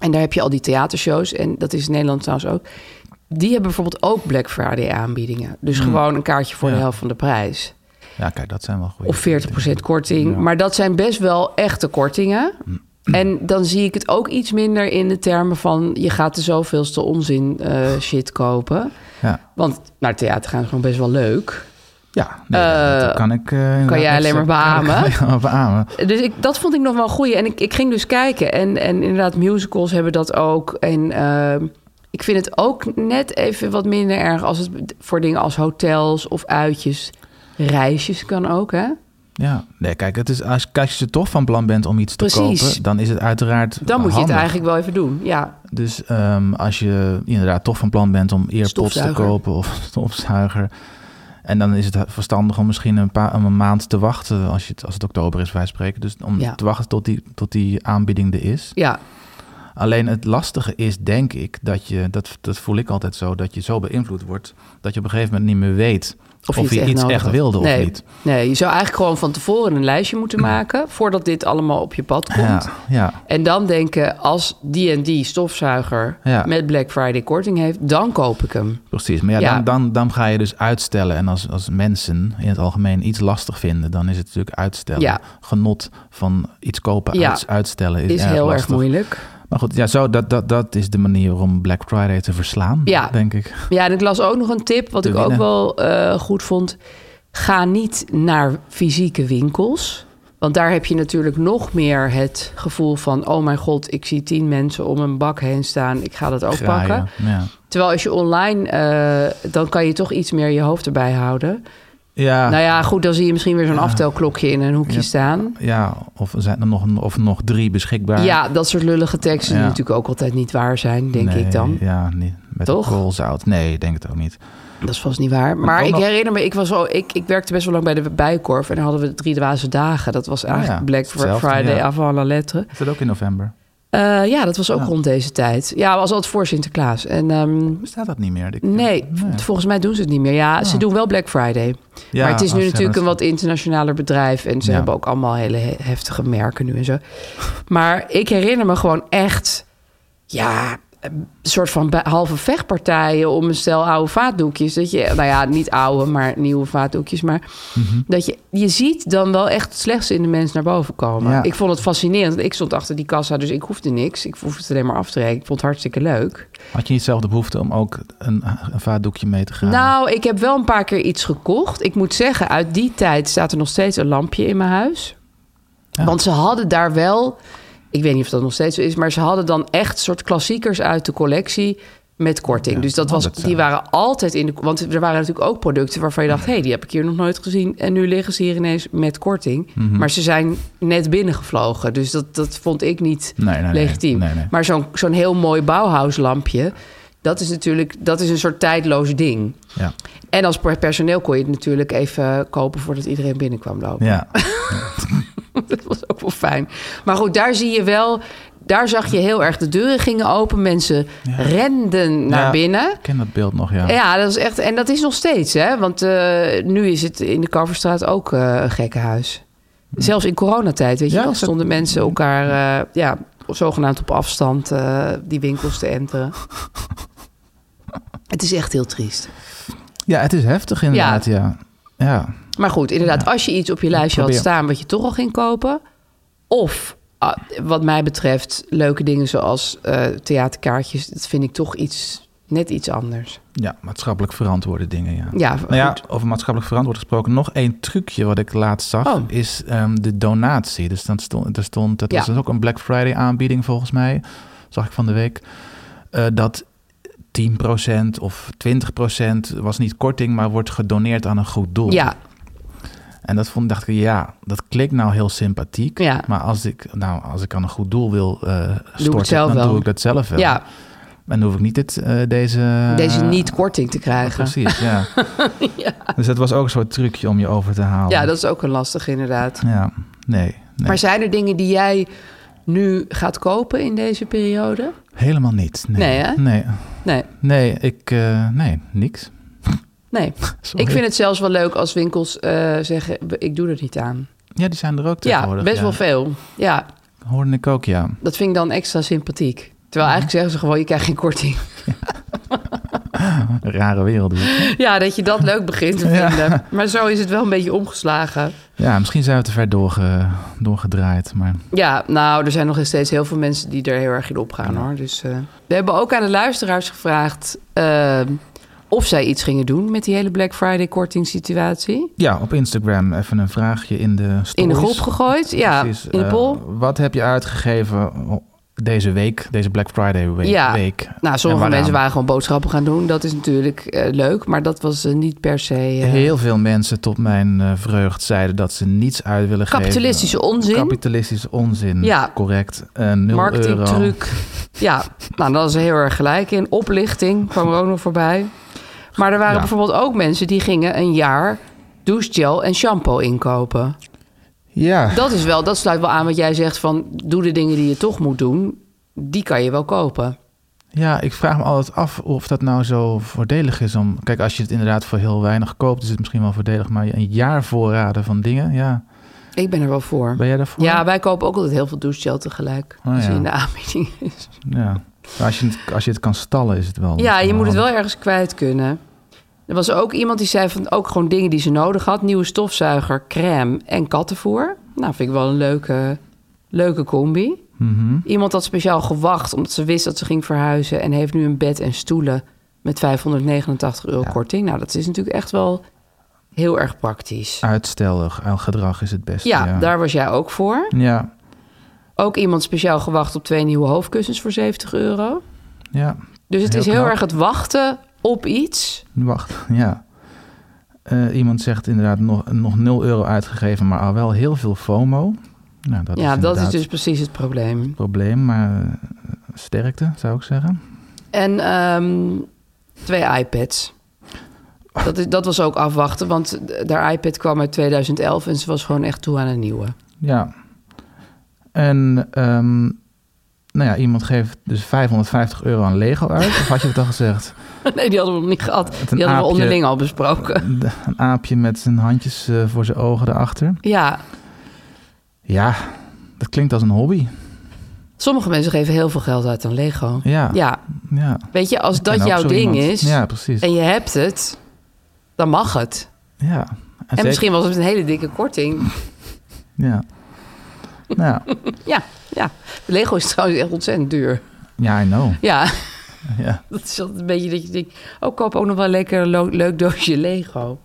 En daar heb je al die theatershows en dat is in Nederland trouwens ook. Die hebben bijvoorbeeld ook Black Friday aanbiedingen. Dus gewoon een kaartje voor de
Hmm. Ja.
helft van de prijs.
Ja, kijk, dat zijn wel goede.
Of 40% korting.
Ja. Hmm.
Maar dat zijn best wel echte kortingen. En dan zie ik het ook iets minder in de termen van... je gaat de zoveelste onzin eh, shit kopen.
Ja,
Want naar theater gaan is gewoon best wel leuk.
ja nee,
Eh,
dat kan ik. eh,
kan jij
inderdaad
alleen maar
zeggen.
beamen?
Kan ik alleen maar beamen.
Dus ik, dat vond ik nog wel een goeie. En ik, ik ging dus kijken. En, en inderdaad, musicals hebben dat ook. En ehm, ik vind het ook net even wat minder erg... als het voor dingen als hotels of uitjes... reisjes kan ook, hè?
Ja, nee, kijk, het is, als, kijk, als je toch van plan bent om iets te
Precies.
kopen, dan is het uiteraard.
Dan moet je het
handig.
eigenlijk wel even doen, ja.
Dus ehm, als je inderdaad toch van plan bent om earpods te
Stofzuiger.
kopen of stofzuiger. En dan is het verstandig om misschien een, paar, een maand te wachten als, je het, als het oktober is, wij spreken. Dus om
Ja.
te wachten tot die, tot die aanbieding er is.
Ja,
Alleen het lastige is, denk ik, dat je, dat, dat voel ik altijd zo, dat je zo beïnvloed wordt dat je op een gegeven moment niet meer weet of,
het
je
echt
iets
nodig
echt
had.
wilde of
Nee.
niet. Mm.
Nee, je zou eigenlijk gewoon van tevoren een lijstje moeten maken voordat dit allemaal op je pad komt.
Ja, ja,
En dan denken, als die en die stofzuiger
Ja.
met Black Friday korting heeft, dan koop ik hem.
precies. Maar ja,
Ja.
Dan, dan, dan ga je dus uitstellen. En als, als mensen in het algemeen iets lastig vinden, dan is het natuurlijk uitstellen.
Ja.
Genot van iets kopen,
Ja.
uits- uitstellen is,
Is
erg
heel
lastig.
erg moeilijk.
Maar goed, ja, zo, dat, dat, dat is de manier om Black Friday te verslaan,
Ja.
denk ik.
Ja, en ik las ook nog een tip, wat
Te
ik ook
winnen.
wel eh, goed vond. Ga niet naar fysieke winkels. Want daar heb je natuurlijk nog meer het gevoel van... oh mijn god, ik zie tien mensen om een bak heen staan. Ik ga dat ook
Graaien,
pakken.
Ja.
Terwijl als je online... eh, dan kan je toch iets meer je hoofd erbij houden.
Ja,
Nou ja, goed, dan zie je misschien weer zo'n aftelklokje in een hoekje staan.
ja, of er zijn er nog, of nog drie beschikbaar.
Ja, dat soort lullige teksten die
Ja.
natuurlijk ook altijd niet waar zijn, denk
Nee,
ik dan.
Ja, niet, Met
Toch?
koolzout. Nee, ik denk het ook niet.
Dat is vast niet waar. Maar
ook
ik
nog-
herinner me, ik, was al, ik, ik werkte best wel lang bij de Bijenkorf. En dan hadden we de Drie Dwaze Dagen. Dat was eigenlijk
Ah ja,
Black
hetzelfde,
Friday,
ja.
avant la lettre.
Is dat ook in november?
Eh, ja, dat was ook
Ja.
rond deze tijd. Ja, was altijd voor Sinterklaas. En ehm,
Bestaat dat niet meer? Ik-
nee, volgens mij doen ze het niet meer. Ja, ze doen wel Black Friday.
Ah. Ja,
maar het is
als
nu
ze
natuurlijk een
hebben-
wat internationaler bedrijf. En ze
Ja.
hebben ook allemaal hele he- heftige merken nu en zo. Maar ik herinner me gewoon echt... Ja, een soort van bij- halve vechtpartijen om een stel oude vaatdoekjes. Dat je, nou ja, niet oude, maar nieuwe vaatdoekjes. Maar
Mhm.
dat je, je ziet dan wel echt het slechtste in de mens naar boven komen.
Ja.
Ik vond het fascinerend. want Ik stond achter die kassa, dus ik hoefde niks. Ik hoefde het alleen maar af te rekenen. Ik vond het hartstikke leuk.
Had je niet zelf de behoefte om ook een, een vaatdoekje mee te gaan?
Nou, ik heb wel een paar keer iets gekocht. Ik moet zeggen, uit die tijd staat er nog steeds een lampje in mijn huis.
Ja.
Want ze hadden daar wel, ik weet niet of dat nog steeds zo is, maar ze hadden dan echt soort klassiekers uit de collectie met korting. dus dat
oh,
was,
dat zou-
die waren altijd in de. Want er waren natuurlijk ook producten waarvan je dacht, hé, hey, die heb ik hier nog nooit gezien. En nu liggen ze hier ineens met korting.
Mhm.
Maar ze zijn net binnengevlogen. Dus dat, dat vond ik niet
Nee, nee, nee.
legitiem.
Nee, nee.
Maar zo'n zo'n heel mooi Bauhaus-lampje, dat is natuurlijk dat is een soort tijdloos ding.
Ja.
En als per- personeel kon je het natuurlijk even kopen voordat iedereen binnenkwam lopen.
ja.
Dat was ook wel fijn. Maar goed, daar zie je wel, daar zag je heel erg de deuren gingen open. Mensen renden naar
Ja.
binnen.
Ik ken dat beeld nog, ja.
Ja, dat is echt, en dat is nog steeds, hè? Want eh, nu is het in de Kalverstraat ook eh een gekkenhuis. Zelfs in coronatijd, weet je
Ja,
wel,
is dat-
stonden mensen elkaar eh, ja, zogenaamd op afstand eh, die winkels te enteren. het is echt heel triest.
Ja, het is heftig inderdaad, ja. Ja, ja.
Maar goed, inderdaad, als je iets op je lijstje had
probeer.
staan wat je toch al ging kopen. Of ah, wat mij betreft, leuke dingen zoals eh, theaterkaartjes. Dat vind ik toch iets, net iets anders.
maatschappelijk verantwoorde dingen, ja.
Ja,
Nou ja,
goed.
over maatschappelijk verantwoord gesproken, nog één trucje wat ik laatst zag,
Oh.
is ehm, de donatie. Dus dan stond, er stond, dat
Ja.
was dus ook een Black Friday aanbieding volgens mij, zag ik van de week, eh, dat 10% of 20% was niet korting, maar wordt gedoneerd aan een goed doel.
ja,
En dat vond, dacht ik, ja, dat klinkt nou heel sympathiek.
Ja.
Maar als ik, nou, als ik aan een goed doel wil eh, storten,
zelf
dan
wel.
doe ik dat zelf wel.
ja,
En dan hoef ik niet dit, eh, deze...
deze niet-korting te krijgen.
Precies, ja. Dus dat was ook een soort trucje om je over te halen.
Ja, dat is ook een lastig inderdaad.
Ja, nee. nee.
Maar zijn er dingen die jij nu gaat kopen in deze periode?
Helemaal niet. Nee,
Nee, hè?
Nee,
Nee,
nee ik... eh, nee, niks.
nee.
Sorry.
Ik vind het zelfs wel leuk als winkels eh, zeggen, ik doe er niet aan.
Ja, die zijn er ook
Ja,
tegenwoordig.
best wel veel. Ja,
Hoorde ik ook, ja.
Dat vind ik dan extra sympathiek. Terwijl eigenlijk zeggen ze gewoon, je krijgt geen korting.
Rare wereld. is het.
Ja, dat je dat leuk begint te
Ja.
vinden. Maar zo is het wel een beetje omgeslagen.
Ja, misschien zijn we te ver doorge, doorgedraaid, maar...
Ja, nou, er zijn nog steeds heel veel mensen die er heel erg in opgaan hoor. Dus, eh, we hebben ook aan de luisteraars gevraagd eh, of zij iets gingen doen met die hele Black Friday korting situatie.
Ja, op Instagram even een vraagje in de stories.
In de groep gegooid, ja,
Precies,
in de
eh,
poll.
wat heb je uitgegeven deze week, deze Black Friday week?
Ja.
week?
nou,
En
sommige
waaraan?
mensen waren gewoon boodschappen gaan doen. Dat is natuurlijk eh, leuk, maar dat was eh, niet per se... eh,
Heel veel mensen tot mijn eh, vreugd zeiden dat ze niets uit willen
Kapitalistische
geven.
onzin.
Kapitalistische onzin,
Ja.
correct. En 0 euro.
marketingtruc. Ja, nou, daar is er heel erg gelijk in. Oplichting kwam er ook nog voorbij. Maar er waren
Ja.
bijvoorbeeld ook mensen die gingen een jaar douchegel en shampoo inkopen.
Ja,
Dat is wel, dat sluit wel aan wat jij zegt van doe de dingen die je toch moet doen. Die kan je wel kopen.
ja, ik vraag me altijd af of dat nou zo voordelig is om... Kijk, als je het inderdaad voor heel weinig koopt, is het misschien wel voordelig. Maar een jaar voorraden van dingen, ja.
Ik ben er wel voor.
Ben jij daarvoor?
Ja, wij kopen ook altijd heel veel douchegel tegelijk.
Oh,
Als je
ja.
in de aanbieding is.
Ja. Maar Als je, het, als je het kan stallen, is het wel...
Ja, je moet het wel
handig.
ergens kwijt kunnen. Er was ook iemand die zei van ook gewoon dingen die ze nodig had. Nieuwe stofzuiger, crème en kattenvoer. Nou, vind ik wel een leuke, leuke combi.
Mhm.
Iemand had speciaal gewacht omdat ze wist dat ze ging verhuizen... en heeft nu een bed en stoelen met 589 euro
Ja.
korting. Nou, dat is natuurlijk echt wel heel erg praktisch.
Uitstellig gedrag is het beste.
Ja, daar was jij ook voor.
Ja,
Ook iemand speciaal gewacht op twee nieuwe hoofdkussens voor 70 euro.
ja.
Dus het
Heel
is heel
knap.
erg het wachten op iets...
Wacht, ja. Eh, iemand zegt inderdaad nog, nog 0 euro uitgegeven, maar al wel heel veel FOMO. Nou, dat
ja,
is
dat is
inderdaad
dus precies het probleem.
het probleem, maar eh, sterkte zou ik zeggen.
En ehm, twee iPads. Dat, is, dat was ook afwachten, want haar iPad kwam uit 2011 en ze was gewoon echt toe aan een nieuwe.
Ja. En ehm, nou ja, iemand geeft dus 550 euro aan Lego uit. Of had je het al gezegd?
Nee, die hadden we nog niet gehad. Die hadden we
aapje. Mm.
onderling al besproken.
Een aapje met zijn handjes eh, voor zijn ogen erachter.
Ja,
Ja, dat klinkt als een hobby.
sommige mensen geven heel veel geld uit aan Lego.
Ja.
ja.
Ja.
Weet je, als
Ik ken
dat
ook
jouw
zo
ding
iemand.
is
Ja, precies.
en je hebt het, dan mag het. En,
ja. En, zeker-
misschien was het een hele dikke korting.
Ja. Nou, ja.
Ja, ja. Lego is trouwens echt ontzettend duur.
ja, I know.
Ja,
Ja.
dat is altijd een beetje dat je denkt... oh, koop ook nog wel lekker een lo- leuk doosje Lego.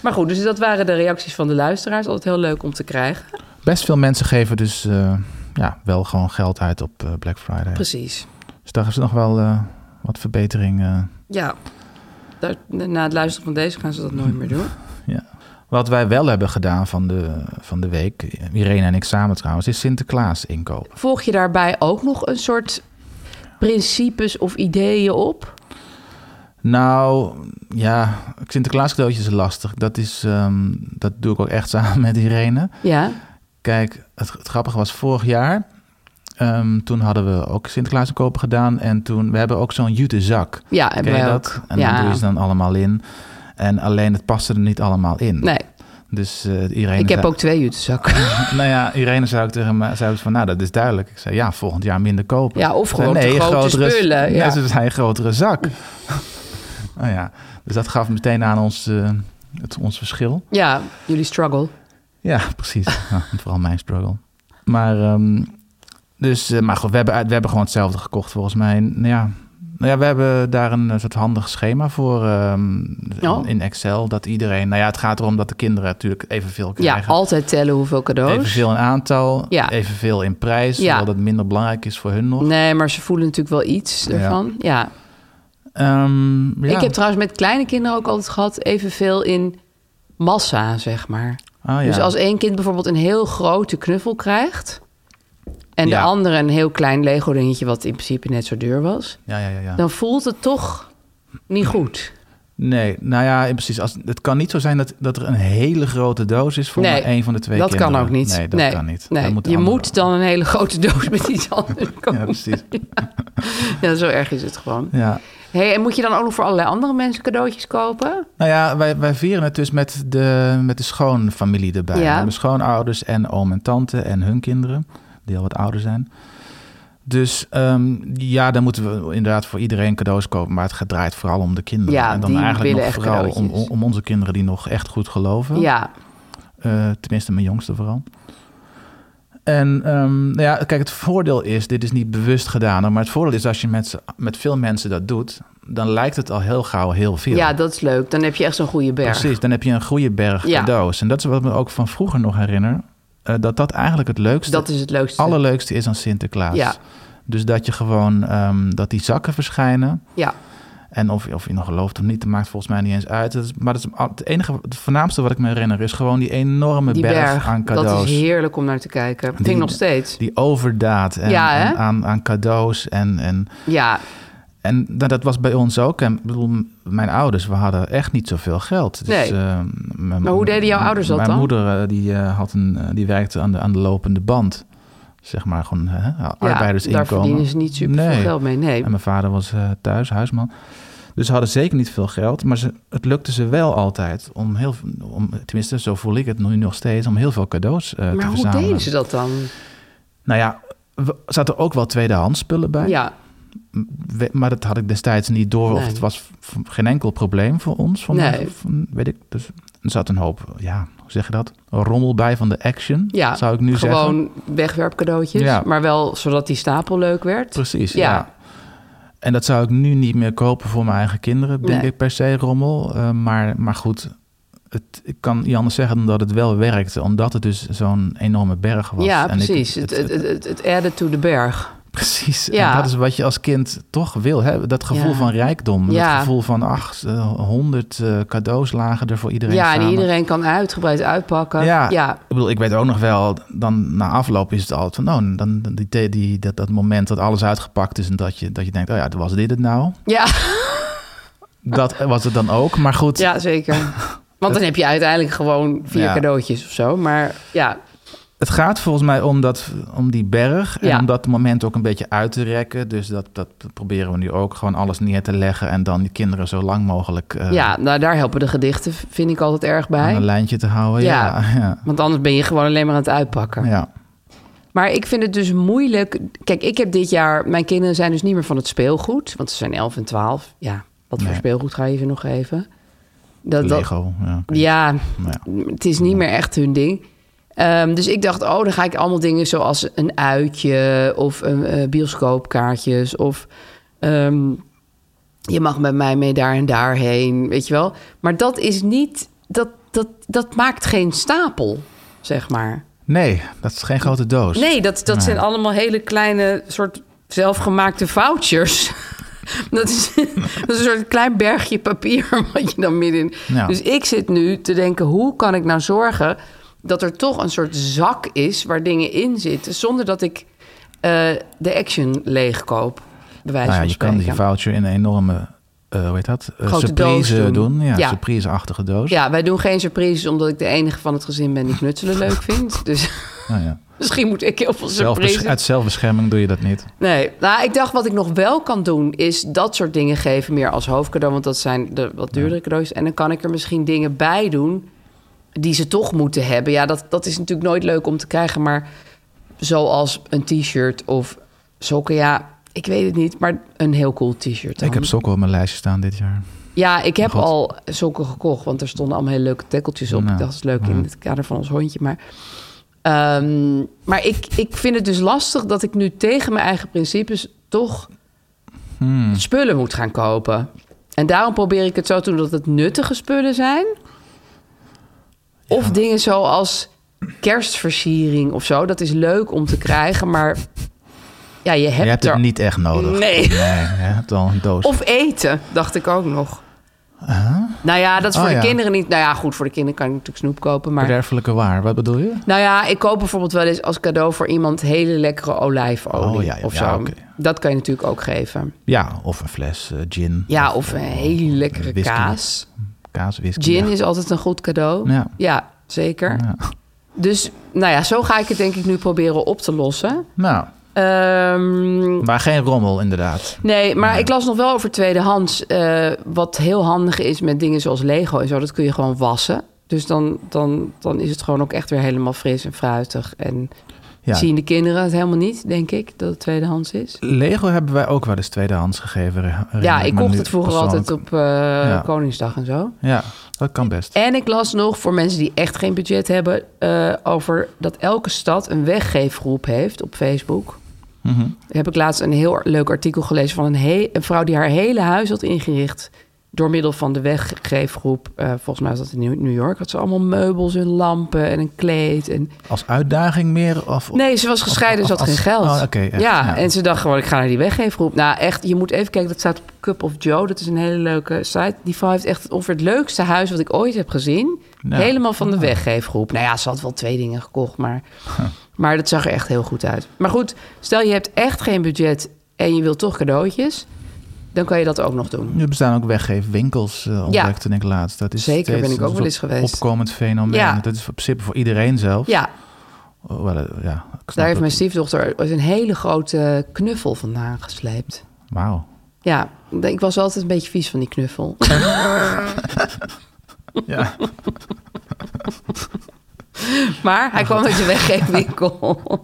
Maar goed, dus dat waren de reacties van de luisteraars. Altijd heel leuk om te krijgen.
Best veel mensen geven dus eh, ja, wel gewoon geld uit op eh, Black Friday.
Precies.
Dus daar is nog wel eh, wat verbetering. eh.
Ja. Daar- Na het luisteren van deze gaan ze dat nooit meer doen.
Wat wij wel hebben gedaan van de, van de week, Irene en ik samen trouwens, is Sinterklaas inkopen.
Volg je daarbij ook nog een soort principes of ideeën op?
Nou, ja, Sinterklaas cadeautjes is lastig. Dat, is, ehm, dat doe ik ook echt samen met Irene.
Ja.
Kijk, het, het grappige was vorig jaar, ehm, toen hadden we ook Sinterklaas inkopen gedaan. En toen, we hebben ook zo'n jute zak.
Ja, hebben
Ken je
wij
dat?
ook.
En
ja.
dan doe je ze dan allemaal in. En alleen het paste er niet allemaal in.
Nee,
Dus eh Irene
ik heb
zei-
ook twee jutezakken.
Nou ja, Irene zei ook tegen mij, zei ook van, nou dat is duidelijk. Ik zei, ja, volgend jaar minder kopen.
Ja, of
Ze zei,
gewoon te grote spullen,
Nee,
ja.
ze zei een grotere zak. nou ja, dus dat gaf meteen aan ons, eh, het, ons verschil.
Ja, jullie struggle.
Ja, precies. Ja, vooral mijn struggle. Maar, ehm, dus, eh, maar goed, we hebben, uit- we hebben gewoon hetzelfde gekocht volgens mij. Nou ja, nou ja, we hebben daar een eh, soort handig schema voor ehm,
Oh.
in Excel. Dat iedereen, nou ja, het gaat erom dat de kinderen natuurlijk evenveel
Ja,
krijgen.
altijd tellen hoeveel cadeaus.
Evenveel in aantal,
Ja.
evenveel in prijs,
Ja.
terwijl dat minder belangrijk is voor hun nog.
Nee, maar ze voelen natuurlijk wel iets ervan. Ja.
Ehm, ja.
Ik heb trouwens met kleine kinderen ook altijd gehad evenveel in massa, zeg maar.
Ah, ja.
Dus als één kind bijvoorbeeld een heel grote knuffel krijgt... en
Ja.
de andere een heel klein Lego dingetje... wat in principe net zo duur was...
ja, ja, ja, ja.
dan voelt het toch niet goed.
Nee, nou ja, precies. Als, het kan niet zo zijn dat, dat er een hele grote doos is voor
Nee,
maar één van de twee
dat
kinderen.
kan ook niet.
Nee, dat kan niet.
nee.
Dan moet de
je
andere-
moet dan een hele grote doos met iets anders
Ja,
komen.
precies.
Ja, zo erg is het gewoon.
Ja.
Hey, en moet je dan ook nog voor allerlei andere mensen cadeautjes kopen?
Nou ja, wij, wij vieren het dus met de, met de schoonfamilie erbij.
Ja.
Mijn schoonouders en oom en tante en hun kinderen, die al wat ouder zijn. Dus ehm, ja, dan moeten we inderdaad voor iedereen cadeaus kopen. Maar het draait vooral om de kinderen.
Ja,
en dan
die
eigenlijk
willen
nog
echt
vooral om,
cadeautjes.
om onze kinderen die nog echt goed geloven.
Ja,
Eh, tenminste, mijn jongste vooral. En ehm, nou ja, kijk, het voordeel is, dit is niet bewust gedaan, maar het voordeel is als je met, z'n- met veel mensen dat doet, dan lijkt het al heel gauw heel veel.
ja, dat is leuk. Dan heb je echt zo'n goede berg.
Precies, dan heb je een goede berg
Ja.
cadeaus. En dat is wat me ook van vroeger nog herinner, eh, dat dat eigenlijk het leukste,
Dat is het leukste.
allerleukste is aan Sinterklaas.
Ja.
Dus dat je gewoon, ehm, dat die zakken verschijnen.
Ja,
En of, of je nog gelooft of niet, dat maakt volgens mij niet eens uit. Dat is- maar dat is al- het enige, het voornaamste wat ik me herinner, is gewoon die enorme
die
berg,
berg.
aan cadeaus.
Dat is heerlijk om naar te kijken. Vind
Die-
ik nog steeds.
Die overdaad en,
Ja, hè?
en aan, aan cadeaus. En, en,
Ja,
en nou, dat was bij ons ook. En ik bedoel, m- mijn ouders, we hadden echt niet zoveel geld. Dus,
Nee.
eh, mijn-
Maar hoe deden jouw ouders dat
mijn
dan?
moeder eh, die, eh, had een, eh, die werkte aan de, aan de lopende band. Zeg maar gewoon hè,
ja daar
arbeidersinkomen.
verdienen ze niet super veel
Nee.
geld mee. Nee.
En mijn vader was eh, thuis, huisman. Dus ze hadden zeker niet veel geld. Maar ze, het lukte ze wel altijd om heel... Om, tenminste, zo voel ik het nu nog steeds. Om heel veel cadeaus eh, te
Maar hoe
verzamelen.
deden ze dat dan?
Nou ja, we- zaten ook wel tweedehands spullen bij.
Ja,
We- maar dat had ik destijds niet door. Of
Nee.
het was v- geen enkel probleem voor ons. Van,
Nee.
van- weet ik. Dus er zat een hoop, ja, hoe zeg je dat? Rommel bij van de action,
ja.
zou ik nu zeggen.
gewoon wegwerpcadeautjes.
Ja.
Maar wel zodat die stapel leuk werd.
Precies, ja.
Ja.
En dat zou ik nu niet meer kopen voor mijn eigen kinderen, denk
Nee.
ik per se, rommel. Eh, maar, maar goed, het, ik kan niet anders zeggen dan dat het wel werkte. Omdat het dus zo'n enorme berg was.
Ja,
En ik-
precies.
het-
Het, het, het, het, het added to the berg.
Precies.
Ja.
En dat is wat je als kind toch wil hebben. Dat gevoel
Ja.
van rijkdom.
Ja.
Dat gevoel van, ach, eh, honderd cadeaus lagen er voor iedereen
Ja, en
samen.
iedereen kan uitgebreid uitpakken.
Ja.
ja.
Ik bedoel, ik weet ook nog wel, dan na afloop is het altijd van, nou, dan, dan die, die, die- dat, dat moment dat alles uitgepakt is en dat je, dat je denkt, oh ja, was dit het nou?
Ja.
Dat was het dan ook, maar goed.
Ja, zeker. Want dan heb je uiteindelijk gewoon vier
Ja.
cadeautjes of zo. Maar ja,
Het gaat volgens mij om, dat, om die berg en
Ja.
om dat moment ook een beetje uit te rekken. Dus dat, dat proberen we nu ook gewoon alles neer te leggen en dan die kinderen zo lang mogelijk eh,
ja nou, daar helpen de gedichten, vind ik altijd erg
aan een
bij.
lijntje te houden. Oh, Ja.
Ja.
Ja.
Want anders ben je gewoon alleen maar aan het uitpakken.
Ja.
Maar ik vind het dus moeilijk. Kijk, ik heb dit jaar. Mijn kinderen zijn dus niet meer van het speelgoed. Want ze zijn 11 en 12. Ja, wat voor
Nee.
speelgoed ga je ze nog geven? Dat, dat-
Lego. Ja. oké.
ja,
Nou ja.
het is niet meer echt hun ding. Ehm, dus ik dacht, oh, dan ga ik allemaal dingen zoals een uitje of een, eh, bioscoopkaartjes. Of ehm, je mag met mij mee daar en daar heen, weet je wel. Maar dat is niet, dat, dat, dat maakt geen stapel, zeg maar.
Nee, dat is geen grote doos.
Nee, dat, dat zijn allemaal hele kleine soort zelfgemaakte vouchers. Dat is, dat is een soort klein bergje papier wat je dan midden...
Ja.
Dus ik zit nu te denken, hoe kan ik nou zorgen... dat er toch een soort zak is waar dingen in zitten... zonder dat ik eh, de action leegkoop, bij wijze
Nou ja,
van
je kan die
spreken.
voucher in een enorme, eh hoe heet dat? Eh,
Grote
surprise
doos
doen.
doen.
Ja,
Ja.
surpriseachtige doos.
Ja, wij doen geen surprises omdat ik de enige van het gezin ben die knutselen leuk vindt. Dus
Nou ja.
misschien moet ik heel veel
Zelfbes-
surprises...
dus uit zelfbescherming doe je dat niet.
Nee, nou, ik dacht wat ik nog wel kan doen is dat soort dingen geven meer als hoofdcadeau, want dat zijn de wat duurdere cadeaus. En dan kan ik er misschien dingen bij doen die ze toch moeten hebben. Ja, dat, dat is natuurlijk nooit leuk om te krijgen, maar zoals een t-shirt of sokken, ja, ik weet het niet, maar een heel cool t-shirt. dan.
Ik heb sokken op mijn lijstje staan dit jaar.
Ja, ik heb
God.
al sokken gekocht, want er stonden allemaal hele leuke tekkeltjes op.
Nou,
ik dacht, dat is leuk in het kader van ons hondje. Maar, ehm, maar ik, ik vind het dus lastig dat ik nu tegen mijn eigen principes toch
Hmm.
spullen moet gaan kopen. En daarom probeer ik het zo te doen dat het nuttige spullen zijn. Of dingen zoals kerstversiering of zo. Dat is leuk om te krijgen, maar ja, je hebt,
je hebt
er...
het niet echt nodig.
Nee.
je hebt al een doos.
Of eten, dacht ik ook nog. Nou ja, dat is
Oh,
voor de
ja.
kinderen niet. Nou ja, goed, voor de kinderen kan ik natuurlijk snoep kopen. Maar
Verderfelijke waar, wat bedoel je?
nou ja, ik koop bijvoorbeeld wel eens als cadeau voor iemand hele lekkere olijfolie
Oh, ja, ja,
of zo.
ja, oké.
Dat kan je natuurlijk ook geven.
Ja, of een fles eh, gin.
Ja, of een hele lekkere
whisky.
kaas.
Kaas, whisky.
Gin
ja.
is altijd een goed cadeau.
Ja.
zeker.
Ja.
Dus nou ja, zo ga ik het denk ik nu proberen op te lossen.
Nou,
Ehm,
maar geen rommel inderdaad.
Nee, maar ik las nog wel over tweedehands. eh, wat heel handig is met dingen zoals Lego en zo. Dat kun je gewoon wassen. Dus dan, dan, dan is het gewoon ook echt weer helemaal fris en fruitig. En
Ja.
zien de kinderen het helemaal niet, denk ik, dat het tweedehands is.
Lego hebben wij ook wel eens tweedehands gegeven. herinner
Ja, ik
me
kocht
nu
het vroeger
persoonlijk.
altijd op eh, Koningsdag en zo.
Ja, dat kan best.
En ik las nog voor mensen die echt geen budget hebben. eh, over dat elke stad een weggeefgroep heeft op Facebook. Heb ik laatst een heel leuk artikel gelezen van een, he- een vrouw die haar hele huis had ingericht. door middel van de weggeefgroep. Eh, volgens mij was dat in New New York. Had ze allemaal meubels en lampen en een kleed. En...
Als uitdaging meer? Of...
Nee, ze was gescheiden, ze had
als-
geen geld.
oh, oké, echt,
ja,
ja.
en ze dacht gewoon, ik ga naar die weggeefgroep. Nou, echt, je moet even kijken, dat staat op Cup of Joe. Dat is een hele leuke site. Die vrouw heeft echt ongeveer het leukste huis wat ik ooit heb gezien.
Nou,
Helemaal van de weggeefgroep. Nou ja, ze had wel twee dingen gekocht, maar, maar dat zag er echt heel goed uit. Maar goed, stel je hebt echt geen budget en je wilt toch cadeautjes... dan kan je dat ook nog doen.
Nu bestaan ook weggeefwinkels, eh ontdekte ik laatst. Dat is
Zeker,
steeds
ben ik ook
een
wel eens
soort
geweest.
opkomend fenomeen.
Ja.
Dat is in principe voor iedereen zelf.
Ja,
Oh, wel, eh, ja, ik snap
daar heeft
dat.
mijn stiefdochter ooit een hele grote knuffel vandaan gesleept.
Wauw.
Ja, ik was altijd een beetje vies van die knuffel.
Ja.
Maar hij kwam uit de weggeefwinkel. Oh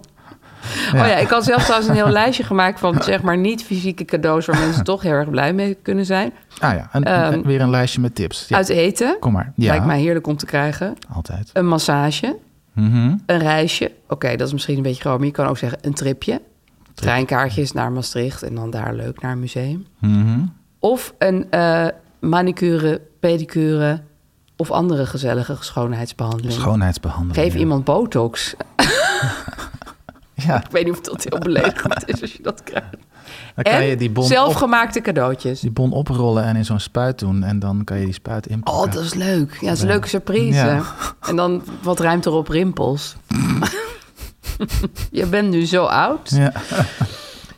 ja, ik had zelf trouwens een heel lijstje gemaakt van zeg maar niet fysieke cadeaus waar mensen toch heel erg blij mee kunnen zijn.
Ah ja, en,
Ehm,
en weer een lijstje met tips. Ja,
Uit eten,
Kom maar. Ja,
lijkt mij heerlijk om te krijgen.
altijd.
Een massage,
Mhm.
een reisje. Oké, dat is misschien een beetje groot, maar je kan ook zeggen een tripje. Treinkaartjes naar Maastricht en dan daar leuk naar een museum.
Mhm.
Of een eh, manicure, pedicure of andere Ehm, gezellige schoonheidsbehandeling.
Schoonheidsbehandeling.
Geef iemand botox.
Ja.
Ik weet niet of dat heel beledigend is als je dat krijgt.
Dan kan
en
je die bon, op,
zelfgemaakte cadeautjes.
die bon oprollen en in zo'n spuit doen. En dan kan je die spuit inpakken.
Oh, dat is leuk. Ja, dat is een leuke surprise.
Ja.
En dan, wat ruimt er op rimpels? je bent nu zo oud.
Ja.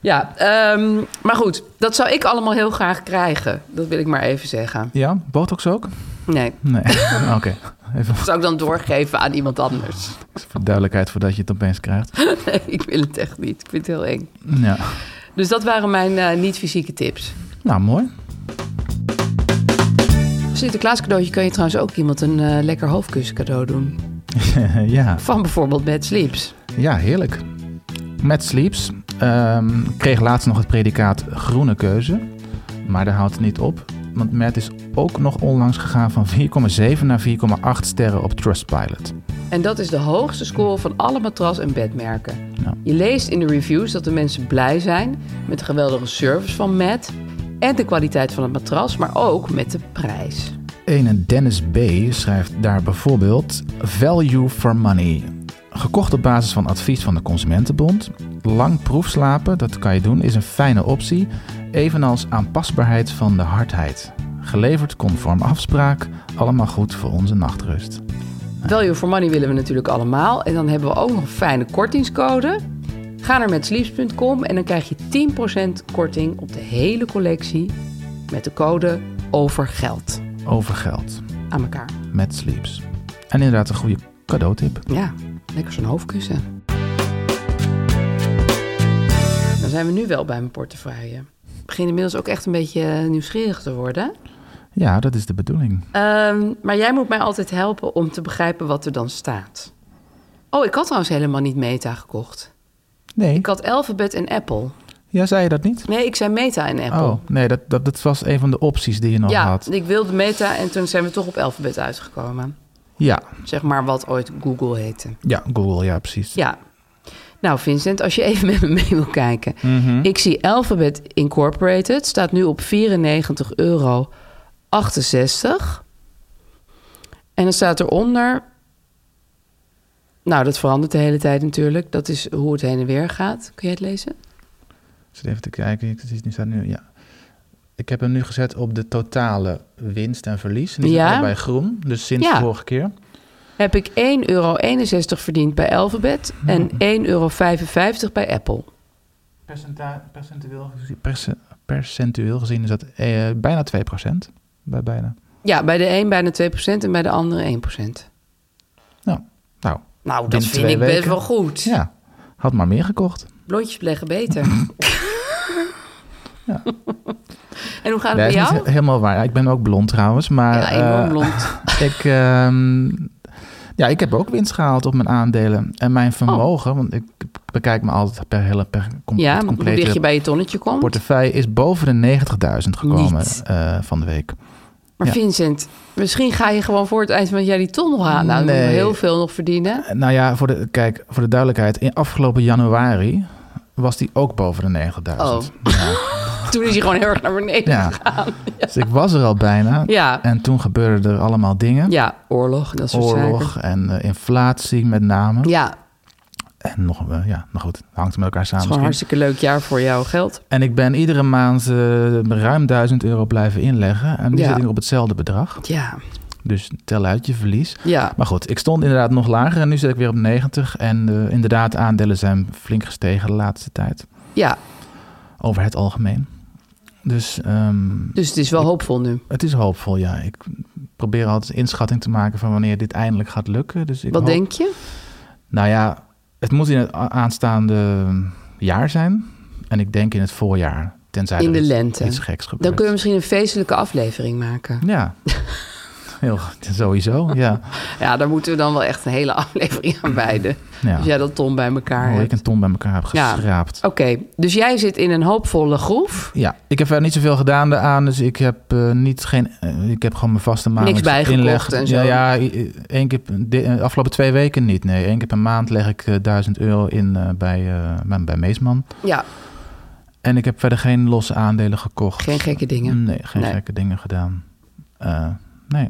Ja, ehm, maar goed, dat zou ik allemaal heel graag krijgen. Dat wil ik maar even zeggen.
ja, botox ook?
Nee,
Nee. Oké, even
dat zou ik dan doorgeven aan iemand anders.
voor duidelijkheid voordat je het opeens krijgt.
Nee, ik wil het echt niet. Ik vind het heel eng.
Ja.
Dus dat waren mijn eh, niet-fysieke tips.
Nou, mooi.
Voor Sinterklaas cadeautje kun je trouwens ook iemand een eh, lekker hoofdkussen cadeau doen.
ja.
Van bijvoorbeeld Bad Sleeps.
ja, heerlijk. Met Sleeps ehm, kreeg laatst nog het predicaat groene keuze. Maar daar houdt het niet op. Want Matt is ook nog onlangs gegaan van 4,7 naar 4,8 sterren op Trustpilot.
En dat is de hoogste score van alle matras- en bedmerken.
Ja.
Je leest in de reviews dat de mensen blij zijn met de geweldige service van Matt... en de kwaliteit van het matras, maar ook met de prijs.
Ene Dennis B. schrijft daar bijvoorbeeld Value for Money. Gekocht op basis van advies van de Consumentenbond. Lang proefslapen, dat kan je doen, is een fijne optie. Evenals aanpasbaarheid van de hardheid. Geleverd conform afspraak, allemaal goed voor onze nachtrust.
Value for money willen we natuurlijk allemaal. En dan hebben we ook nog een fijne kortingscode. Ga naar metsleeps.com en dan krijg je 10% korting op de hele collectie met de code OVERGELD
Over geld,
aan elkaar.
met sleeps. En inderdaad een goede cadeautip.
Ja, lekker zo'n hoofdkussen. Dan zijn we nu wel bij mijn portefeuille. Ik begin inmiddels ook echt een beetje eh, nieuwsgierig te worden.
Ja, dat is de bedoeling.
Ehm, maar jij moet mij altijd helpen om te begrijpen wat er dan staat. Oh, ik had trouwens helemaal niet Meta gekocht.
Nee,
Ik had Alphabet en Apple.
ja, zei je dat niet?
Nee, ik zei Meta en Apple.
Oh, nee, dat, dat, dat was een van de opties die je nog
ja,
had.
ik wilde Meta en toen zijn we toch op Alphabet uitgekomen.
Ja,
Zeg maar wat ooit Google heette.
ja, Google, ja, precies.
Ja. Nou, Vincent, als je even met me mee wil kijken. Ik zie Alphabet Incorporated staat nu op 94,68 euro. En dan staat eronder. Nou, dat verandert de hele tijd natuurlijk. Dat is hoe het heen en weer gaat. Kun jij het lezen?
Ik zit even te kijken. Ik, het is, die staat nu, ja. ik heb hem nu gezet op de totale winst en verlies. En die
Ja.
ja. bij groen, dus sinds
Ja.
de vorige keer.
Heb ik 1,61 euro verdiend bij Alphabet en 1,55 euro bij Apple.
percentueel, gezien, percentueel gezien is dat eh, bijna 2%. Bij bijna.
Ja, bij de een bijna 2% en bij de andere 1%.
Nou, nou
Nou, dat
Binnen
vind
twee
ik best
weken.
wel goed.
ja, had maar meer gekocht.
Blondjes beleggen beter.
Ja.
En hoe gaat het
Nee,
bij
is
jou?
niet he- helemaal waar. Ik ben ook blond trouwens, maar...
Ja, enorm
eh,
blond.
ik, ehm, ja, ik heb ook winst gehaald op mijn aandelen. En mijn vermogen, want ik bekijk me altijd per hele... Per com-
Oh. Ja,
het
hoe
complete
dicht je bij je tonnetje komt.
portefeuille is boven de 90.000 gekomen
Niet.
eh, van de week.
maar
ja.
Vincent, misschien ga je gewoon voor het eind van het jaar die ton nog halen. Nou, dan
Nee.
moeten we heel veel nog verdienen.
Eh, Nou ja, voor de, kijk, voor de duidelijkheid. In afgelopen januari was die ook boven de 90.000.
Oh.
Ja.
Toen is hij gewoon heel erg naar beneden.
Ja. Dus ik was er al bijna.
Ja.
En toen gebeurden er allemaal dingen.
Ja, oorlog en dat soort zaken.
Oorlog en eh, inflatie met name.
Ja, het
En nog, eh, ja, nou goed, hangt met elkaar
is
samen
gewoon een
misschien.
hartstikke leuk jaar voor jouw geld.
En ik ben iedere maand eh, ruim 1000 euro blijven inleggen. En nu
Ja.
zit ik nog op hetzelfde bedrag.
Ja,
Dus tel uit je verlies.
ja.
Maar goed, ik stond inderdaad nog lager en nu zit ik weer op 90. En eh, inderdaad, aandelen zijn flink gestegen de laatste tijd.
ja.
Over het algemeen. Dus ehm,
Dus het is wel hoopvol nu.
het is hoopvol, ja. Ik probeer altijd een inschatting te maken van wanneer dit eindelijk gaat lukken. Dus ik
Wat
hoop-
denk je?
Nou ja, het moet in het a- aanstaande jaar zijn. En ik denk in het voorjaar. Tenzij
In
er
de
iets,
lente.
iets geks gebeurt.
Dan kunnen we misschien een feestelijke aflevering maken.
Ja. Heel, sowieso, ja.
Ja, daar moeten we dan wel echt een hele aflevering aan wijden.
ja.
Als jij dat ton bij elkaar
Hoe ik
hebt.
een ton bij elkaar heb
Ja.
geschraapt.
Oké, dus jij zit in een hoopvolle groef.
Ja, ik heb verder niet zoveel gedaan daaraan. Dus ik heb, eh, niet geen, eh, ik heb gewoon mijn vaste maandelijkse
bijgekocht
inleg.
en zo.
Ja, ja i- één keer, p- de eh, afgelopen twee weken niet. Nee, één keer per maand leg ik eh, 1000 euro in eh, bij, eh, bij, bij Meesman.
Ja,
En ik heb verder geen losse aandelen gekocht.
geen gekke dingen.
Nee, geen
Nee.
gekke dingen gedaan. Eh, nee,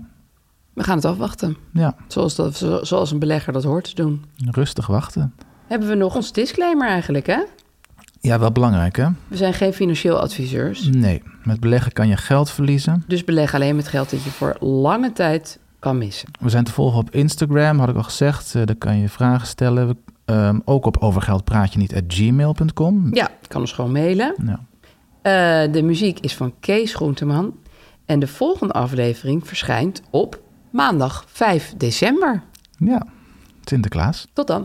We gaan het afwachten.
ja,
Zoals, dat, zo- zoals een belegger dat hoort te doen.
rustig wachten.
Hebben we nog ons disclaimer eigenlijk, hè?
Ja, wel belangrijk hè?
We zijn geen financieel adviseurs.
Nee, met beleggen kan je geld verliezen.
Dus beleg alleen met geld dat je voor lange tijd kan missen.
We zijn te volgen op Instagram, had ik al gezegd. Eh, daar kan je vragen stellen. We- ehm, ook op overgeldpraatjeniet.gmail.com.
Ja, kan ons gewoon mailen.
Ja.
Eh, de muziek is van Kees Groenteman. En de volgende aflevering verschijnt op maandag 5 december.
ja, Sinterklaas.
Tot dan.